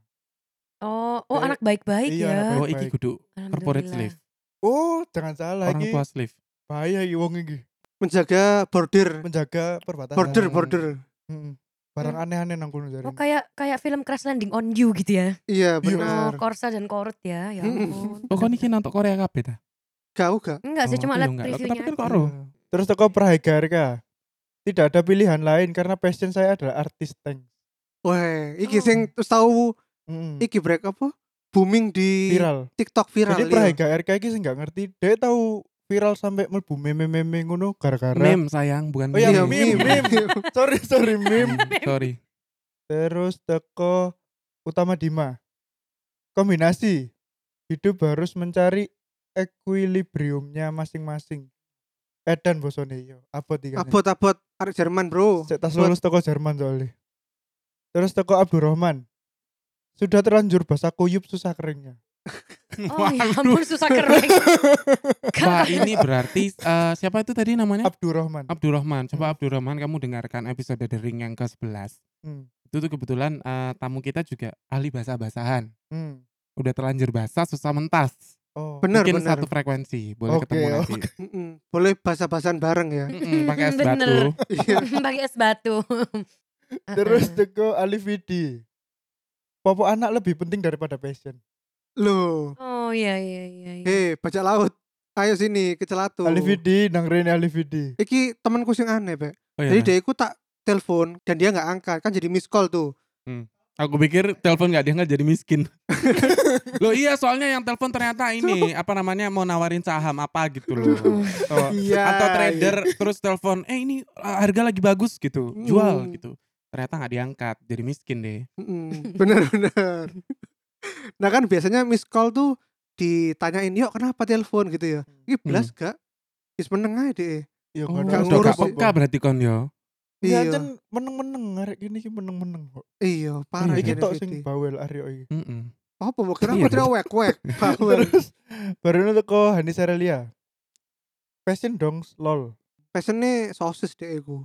[SPEAKER 3] Oh, oh
[SPEAKER 2] Kayak-
[SPEAKER 3] anak baik-baik
[SPEAKER 2] iya,
[SPEAKER 3] ya.
[SPEAKER 2] anak
[SPEAKER 4] oh iki
[SPEAKER 2] Baik-baik.
[SPEAKER 4] kudu corporate
[SPEAKER 3] Alhamdulillah.
[SPEAKER 4] slave
[SPEAKER 2] Oh, jangan salah
[SPEAKER 4] orang
[SPEAKER 2] iki
[SPEAKER 4] tua slave
[SPEAKER 2] bahaya iki wong iki.
[SPEAKER 1] Menjaga border,
[SPEAKER 2] Menjaga perbatasan.
[SPEAKER 1] border, border. Hmm.
[SPEAKER 2] Mm-mm. Barang aneh-aneh nang kono jare.
[SPEAKER 3] Oh kayak kayak film Crash Landing on You gitu ya.
[SPEAKER 1] Iya
[SPEAKER 2] Iya.
[SPEAKER 3] Oh,
[SPEAKER 1] benar.
[SPEAKER 3] Corsa dan Corut ya. Ya
[SPEAKER 1] Mm-mm.
[SPEAKER 3] ampun.
[SPEAKER 4] pokoknya iki nonton Korea kabeh ta
[SPEAKER 1] Gak gak.
[SPEAKER 3] Enggak sih,
[SPEAKER 4] Oh,
[SPEAKER 3] cuma
[SPEAKER 4] aku ya
[SPEAKER 3] lihat
[SPEAKER 4] enggak. Tapi
[SPEAKER 3] previewnya.
[SPEAKER 4] kan
[SPEAKER 3] aja.
[SPEAKER 4] Karo.
[SPEAKER 2] Iya. Terus toko Prahigarka. Tidak ada pilihan lain karena passion saya adalah artis tank.
[SPEAKER 1] Wah, iki
[SPEAKER 3] Oh.
[SPEAKER 1] sing terus tahu
[SPEAKER 2] Mm-mm.
[SPEAKER 1] iki break apa? Booming di
[SPEAKER 2] Viral.
[SPEAKER 1] TikTok viral. iya.
[SPEAKER 2] Jadi Prahigarka iki sing nggak ngerti, dia tahu viral sampai melbu meme-meme ngono gara-gara
[SPEAKER 4] meme sayang bukan
[SPEAKER 2] Oh iya,
[SPEAKER 1] Iya,
[SPEAKER 2] meme, meme. sorry, sorry, meme.
[SPEAKER 4] sorry
[SPEAKER 2] Terus teko utama Dima. Kombinasi hidup harus mencari equilibriumnya masing-masing. Edan bosone yo, abot iki. kan.
[SPEAKER 1] Abot abot arek Jerman, Bro.
[SPEAKER 2] Sik tas
[SPEAKER 1] Abot.
[SPEAKER 2] lulus teko Jerman soalnya. Terus teko Abdurrahman. Sudah terlanjur basah kuyup susah keringnya.
[SPEAKER 3] Oh ya ampun susah kering.
[SPEAKER 4] Wah Nah,
[SPEAKER 3] Kan-
[SPEAKER 4] ini berarti eh, siapa itu tadi namanya
[SPEAKER 2] Abdurrahman.
[SPEAKER 4] Abdurrahman
[SPEAKER 2] Hmm.
[SPEAKER 4] coba Abdurrahman kamu dengarkan episode The Ring yang ke 11
[SPEAKER 2] Hmm,
[SPEAKER 4] itu tuh kebetulan eh, tamu kita juga ahli bahasa basahan
[SPEAKER 2] hmm.
[SPEAKER 4] udah terlanjur basah susah mentas
[SPEAKER 2] Oh.
[SPEAKER 1] Bener
[SPEAKER 4] mungkin
[SPEAKER 1] bener.
[SPEAKER 4] satu frekuensi boleh
[SPEAKER 2] Oke,
[SPEAKER 4] ketemu nanti
[SPEAKER 1] Mm-mm. Boleh bahasa-bahasan bareng ya.
[SPEAKER 4] Mm-mm, pakai es
[SPEAKER 3] Bener.
[SPEAKER 4] batu Oh,
[SPEAKER 1] Iya.
[SPEAKER 3] Pakai es batu.
[SPEAKER 2] Terus teko Alif Widi. Popok anak lebih penting daripada passion.
[SPEAKER 1] Loh.
[SPEAKER 3] Oh iya iya iya. iya.
[SPEAKER 1] Hei, Eh, bajak laut. Ayo sini ke Celatu.
[SPEAKER 2] Alif Widi nang rene Alif Widi.
[SPEAKER 1] Iki temanku sing aneh, Pak.
[SPEAKER 4] Oh, iya,
[SPEAKER 1] Jadi
[SPEAKER 4] Nah.
[SPEAKER 1] dia iku tak telepon dan dia nggak angkat, kan jadi miss call tuh.
[SPEAKER 4] aku pikir telepon nggak diangkat jadi miskin loh iya soalnya yang telepon ternyata ini apa namanya mau nawarin saham apa gitu loh
[SPEAKER 3] Hmm.
[SPEAKER 4] atau,
[SPEAKER 1] Iya,
[SPEAKER 4] atau trader terus telepon eh ini eh, harga lagi bagus gitu jual
[SPEAKER 1] Hmm.
[SPEAKER 4] gitu ternyata nggak diangkat jadi miskin deh
[SPEAKER 1] Mm-mm, Bener-bener. nah kan biasanya miss call tuh ditanyain, yuk kenapa telepon gitu ya.
[SPEAKER 4] Hmm.
[SPEAKER 1] Iki belas gak? Is meneng aja deh.
[SPEAKER 2] Ya
[SPEAKER 4] Oh,
[SPEAKER 1] ada
[SPEAKER 4] udah gak
[SPEAKER 1] ngurus sih.
[SPEAKER 4] peka berarti kon yo.
[SPEAKER 2] Iya,
[SPEAKER 1] Iya.
[SPEAKER 2] kan meneng-meneng arek ini ki meneng-meneng kok.
[SPEAKER 1] Iya, parah
[SPEAKER 2] Iki
[SPEAKER 4] Iya.
[SPEAKER 1] iki
[SPEAKER 2] tok
[SPEAKER 1] Vidi.
[SPEAKER 2] sing bawel arek iki.
[SPEAKER 4] Mm-mm.
[SPEAKER 1] Apa mau kira
[SPEAKER 4] Iya.
[SPEAKER 1] aku tidak wek-wek. Bawel.
[SPEAKER 2] Terus baru itu teko Hani Sarelia. Passion dong lol.
[SPEAKER 1] Passionnya sosis deh iku.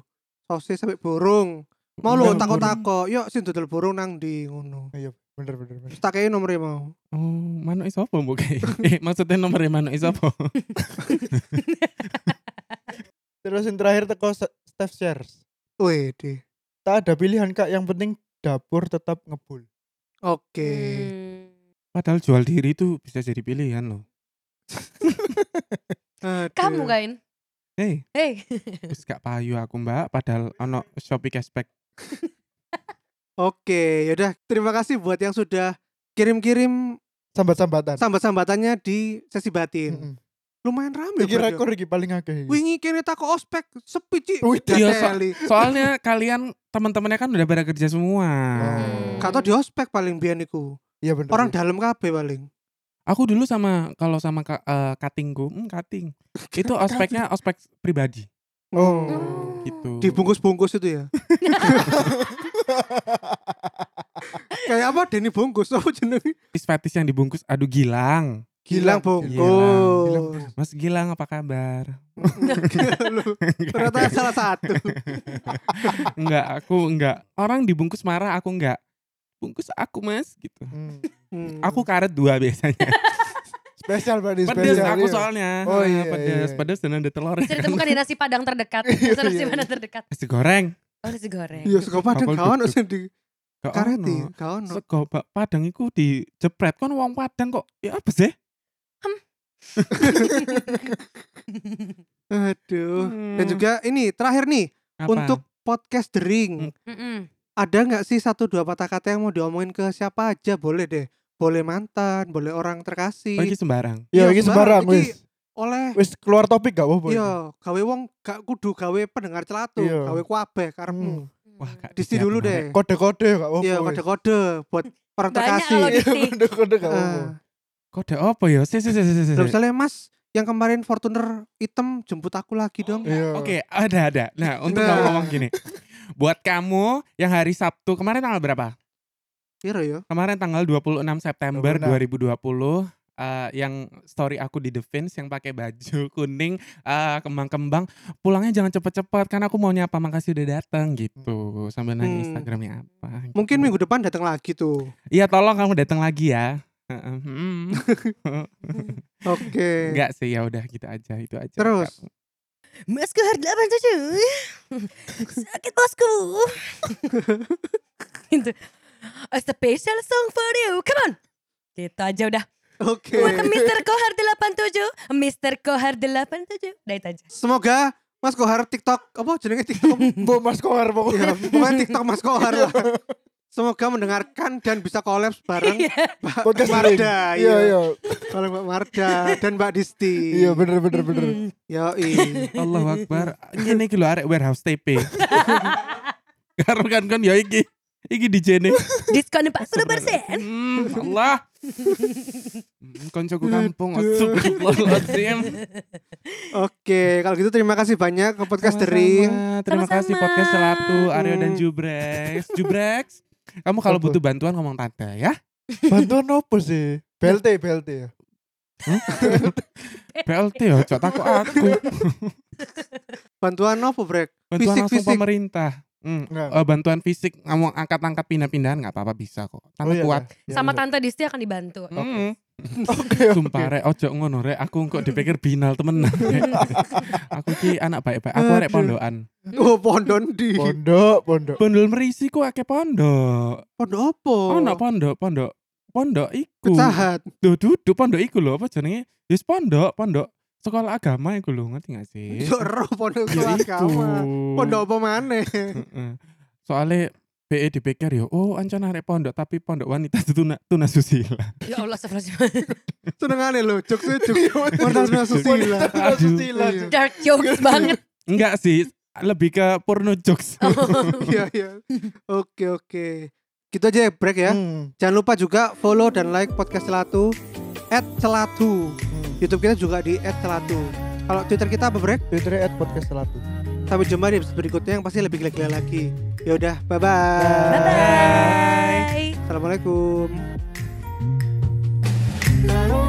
[SPEAKER 1] Sosis sampai burung. Mau lo
[SPEAKER 2] Iya,
[SPEAKER 1] tako-tako, yuk sing dodol burung nang di ngono.
[SPEAKER 2] Bener bener bener.
[SPEAKER 1] Terus tak kei nomornya mau.
[SPEAKER 4] Oh, mano is apa mbok kayak? Eh, maksudnya nomornya mano is apa?
[SPEAKER 2] Terus yang terakhir teko Se- Steph Shares.
[SPEAKER 1] Wih deh.
[SPEAKER 2] Tak ada pilihan kak. Yang penting dapur tetap ngebul.
[SPEAKER 1] Oke.
[SPEAKER 3] Hmm.
[SPEAKER 4] Padahal jual diri itu bisa jadi pilihan loh.
[SPEAKER 1] Aduh.
[SPEAKER 3] Kamu kain.
[SPEAKER 4] Hei,
[SPEAKER 3] Hei.
[SPEAKER 4] Eh, wis gak payu aku mbak. Padahal ono Shopee cashback.
[SPEAKER 1] Oke, yaudah. Terima kasih buat yang sudah kirim-kirim
[SPEAKER 2] Sambat-sambatan.
[SPEAKER 1] sambat-sambatannya di sesi batin.
[SPEAKER 2] Mm-mm.
[SPEAKER 1] Lumayan rame.
[SPEAKER 2] Iki
[SPEAKER 1] Bro.
[SPEAKER 2] rekor iki paling akeh. iki.
[SPEAKER 1] Wingi kene tak ospek sepi cik.
[SPEAKER 2] Wih,
[SPEAKER 1] Udah
[SPEAKER 4] iya, Sa.
[SPEAKER 1] teli.
[SPEAKER 4] Soalnya kalian teman-temannya kan udah pada kerja semua.
[SPEAKER 2] Oh.
[SPEAKER 1] Gak tau di ospek paling biyen iku.
[SPEAKER 2] Iya bener.
[SPEAKER 1] Orang dalam kabeh paling.
[SPEAKER 4] Aku dulu sama kalau sama ka, eh, katingku, hmm, kating. Itu ospeknya ospek pribadi
[SPEAKER 2] Oh.
[SPEAKER 4] gitu.
[SPEAKER 1] Hmm. Dibungkus-bungkus itu ya. Kayak apa Denny bungkus apa jenenge?
[SPEAKER 4] Is fetish yang dibungkus. Aduh Gilang.
[SPEAKER 1] Gilang
[SPEAKER 4] Gilang,
[SPEAKER 1] bungkus.
[SPEAKER 4] Mas Gilang apa kabar?
[SPEAKER 1] Lu, Ternyata salah satu.
[SPEAKER 4] enggak, aku enggak. Orang dibungkus marah, aku enggak. Bungkus aku mas gitu.
[SPEAKER 2] Hmm.
[SPEAKER 1] Hmm.
[SPEAKER 4] Aku karet dua biasanya.
[SPEAKER 2] Spesial Pak, ini
[SPEAKER 4] pedes
[SPEAKER 2] spesial,
[SPEAKER 4] aku
[SPEAKER 2] iya.
[SPEAKER 4] soalnya.
[SPEAKER 2] Oh,
[SPEAKER 4] Ah,
[SPEAKER 2] iya,
[SPEAKER 4] pedes,
[SPEAKER 2] iya.
[SPEAKER 4] pedes dan ada telurnya.
[SPEAKER 3] Bisa
[SPEAKER 4] kan.
[SPEAKER 3] ditemukan di nasi padang terdekat. Bisa nasi
[SPEAKER 2] Iya, iya.
[SPEAKER 3] padang terdekat.
[SPEAKER 4] Nasi goreng.
[SPEAKER 3] Oh nasi goreng.
[SPEAKER 1] Iya, sego padang
[SPEAKER 4] Bakul
[SPEAKER 1] gak ono
[SPEAKER 4] duduk.
[SPEAKER 1] sing di
[SPEAKER 4] Gak
[SPEAKER 1] kareti,
[SPEAKER 4] ono.
[SPEAKER 1] gak ono.
[SPEAKER 4] Sego bak padang iku dijepret kan wong padang kok. Ya apa sih?
[SPEAKER 1] Aduh. Dan
[SPEAKER 4] Hmm,
[SPEAKER 1] juga ini terakhir nih
[SPEAKER 4] apa?
[SPEAKER 1] untuk podcast
[SPEAKER 2] Hmm.
[SPEAKER 1] dering.
[SPEAKER 3] Mm-mm.
[SPEAKER 1] Ada nggak sih satu dua patah kata yang mau diomongin ke siapa aja boleh deh. Boleh mantan, boleh orang
[SPEAKER 4] Oh, ini
[SPEAKER 1] terkasih,
[SPEAKER 4] sembarang.
[SPEAKER 2] Iya,
[SPEAKER 1] Iya,
[SPEAKER 2] iki
[SPEAKER 1] sembarang,
[SPEAKER 2] sembarang
[SPEAKER 1] iki.
[SPEAKER 2] wis.
[SPEAKER 1] oleh
[SPEAKER 2] Wis keluar topik gak apa-apa. ini.
[SPEAKER 1] Iya, gawe wong gak kudu gawe pendengar celatu,
[SPEAKER 2] Iya.
[SPEAKER 1] gawe kuabeh karepmu.
[SPEAKER 4] Wah, Kak
[SPEAKER 1] Disti
[SPEAKER 4] Disiap
[SPEAKER 1] dulu
[SPEAKER 4] menarik.
[SPEAKER 1] deh.
[SPEAKER 2] Hmm. Kode-kode gak apa-apa.
[SPEAKER 1] Iya,
[SPEAKER 2] wis.
[SPEAKER 1] kode-kode buat orang
[SPEAKER 3] Banyak
[SPEAKER 1] terkasih.
[SPEAKER 3] kalau di-
[SPEAKER 2] Iya, Kode-kode gak apa-apa.
[SPEAKER 1] Ah.
[SPEAKER 4] Kode apa ya? Si, si, si, si, si.
[SPEAKER 1] Lah, misalnya Mas yang kemarin Fortuner hitam jemput aku lagi dong.
[SPEAKER 2] Iya.
[SPEAKER 4] Oke, ada ada. Nah, untuk
[SPEAKER 1] Nah.
[SPEAKER 4] ngomong gini. Buat kamu yang hari Sabtu kemarin tanggal berapa?
[SPEAKER 1] Piro yo?
[SPEAKER 4] Kemarin tanggal 26 September 2020 eh, yang story aku di The Fins yang pakai baju kuning eh, kembang-kembang pulangnya jangan cepet-cepet karena aku mau nyapa makasih udah datang gitu sambil nanya
[SPEAKER 1] Hmm.
[SPEAKER 4] Instagramnya apa gitu.
[SPEAKER 2] Hmm.
[SPEAKER 1] Mungkin minggu depan datang lagi tuh.
[SPEAKER 4] iya tolong kamu datang lagi ya Heeh, hmm.
[SPEAKER 1] Oke.
[SPEAKER 4] enggak sih ya udah gitu aja itu aja
[SPEAKER 1] Terus?
[SPEAKER 3] Masku har 87 Sakit bosku gitu. A special song for you Come on Gitu aja udah
[SPEAKER 1] Oke.
[SPEAKER 3] Welcome Mr. Kohar 87 Mr. Kohar 87 Udah itu aja
[SPEAKER 1] Semoga Mas Kohar TikTok apa jenenge TikTok?
[SPEAKER 2] Bu Mas Kohar
[SPEAKER 1] ya,
[SPEAKER 2] pokoknya.
[SPEAKER 1] pokoknya TikTok Mas Kohar lah. Semoga mendengarkan dan bisa kolaps bareng
[SPEAKER 3] Iya.
[SPEAKER 1] Mbak
[SPEAKER 2] Podcast
[SPEAKER 1] Marda.
[SPEAKER 2] sering. Iya iya.
[SPEAKER 1] Kalau Mbak Marda dan Mbak Disti.
[SPEAKER 2] Iya bener bener bener.
[SPEAKER 3] Mm.
[SPEAKER 1] Yoi.
[SPEAKER 4] Allah Akbar ini iki lho arek warehouse TP karo kan kan ya iki iki di jene
[SPEAKER 3] Diskon 40%
[SPEAKER 4] Hmm, Allah. Hmm, Koncoku kampung. Astagfirullahaladzim.
[SPEAKER 1] Oke, kalau gitu terima kasih banyak ke podcast Dering.
[SPEAKER 4] Sama-sama. Terima kasih
[SPEAKER 3] Sama-sama.
[SPEAKER 4] podcast Celatu, Aryo dan
[SPEAKER 1] Hmm.
[SPEAKER 4] Jubrex. Jubrex, kamu kalau
[SPEAKER 2] Apa?
[SPEAKER 4] butuh bantuan ngomong tante ya.
[SPEAKER 2] Bantuan apa sih? BLT BLT ya.
[SPEAKER 4] BLT ya, cok takut aku.
[SPEAKER 1] Bantuan apa, Brek?
[SPEAKER 4] Bantuan langsung
[SPEAKER 1] Fisik-fisik.
[SPEAKER 4] pemerintah. Hmm,
[SPEAKER 2] Enggak.
[SPEAKER 4] eh, bantuan fisik kamu angkat-angkat pindah-pindahan nggak apa-apa bisa kok.
[SPEAKER 2] Oh,
[SPEAKER 4] Tante
[SPEAKER 2] iya,
[SPEAKER 4] kuat.
[SPEAKER 2] iya.
[SPEAKER 3] Sama Tante Disti akan dibantu
[SPEAKER 2] Oke. Oke.
[SPEAKER 4] Hmm.
[SPEAKER 2] oke.
[SPEAKER 4] Sumpah rek ojo ngono rek aku kok dipikir binal temenan. Rek. aku ki anak baik-baik. Aku arek
[SPEAKER 1] Aduh.
[SPEAKER 4] pondokan.
[SPEAKER 1] Oh, pondon di.
[SPEAKER 2] Pondok pondok.
[SPEAKER 4] Bondol merisi ku akeh pondok.
[SPEAKER 1] Pondok apa?
[SPEAKER 4] Oh, no pondok, pondok. Pondok iku.
[SPEAKER 1] Pecahat.
[SPEAKER 4] Duh, duduk pondok iku lho, apa jenenge? Wis pondok, pondok sekolah agama iku lho, ngerti gak sih?
[SPEAKER 1] Yo roh pondok
[SPEAKER 4] Ya
[SPEAKER 1] keluarga.
[SPEAKER 4] iku.
[SPEAKER 1] mah. Pondok apa maneh?
[SPEAKER 4] Heeh. Soale BE dipikir yo, oh ancen arek pondok tapi pondok wanita tuna tunasusila.
[SPEAKER 3] Ya Allah astagfirullahaladzim.
[SPEAKER 1] Senengane lho, jokes jokes. Pondok susila.
[SPEAKER 2] Pondok
[SPEAKER 4] Aduh.
[SPEAKER 2] Susila.
[SPEAKER 1] Iya.
[SPEAKER 3] Dark jokes banget
[SPEAKER 4] Enggak sih, lebih ke porno jokes.
[SPEAKER 1] Iya, iya. Oke, oke. Gitu aja ya, Brek ya.
[SPEAKER 2] Hmm,
[SPEAKER 1] Jangan lupa juga follow dan like podcast Celatu at Celatu.
[SPEAKER 2] hmm.
[SPEAKER 1] YouTube kita juga di at Celatu. Kalau Twitter kita apa, Brek?
[SPEAKER 2] Twitternya at podcast selatu.
[SPEAKER 1] Sampai jumpa di episode berikutnya yang pasti lebih gila-gila lagi. Ya udah, bye-bye.
[SPEAKER 2] Bye.
[SPEAKER 3] Bye
[SPEAKER 1] Assalamualaikum.
[SPEAKER 2] Bye.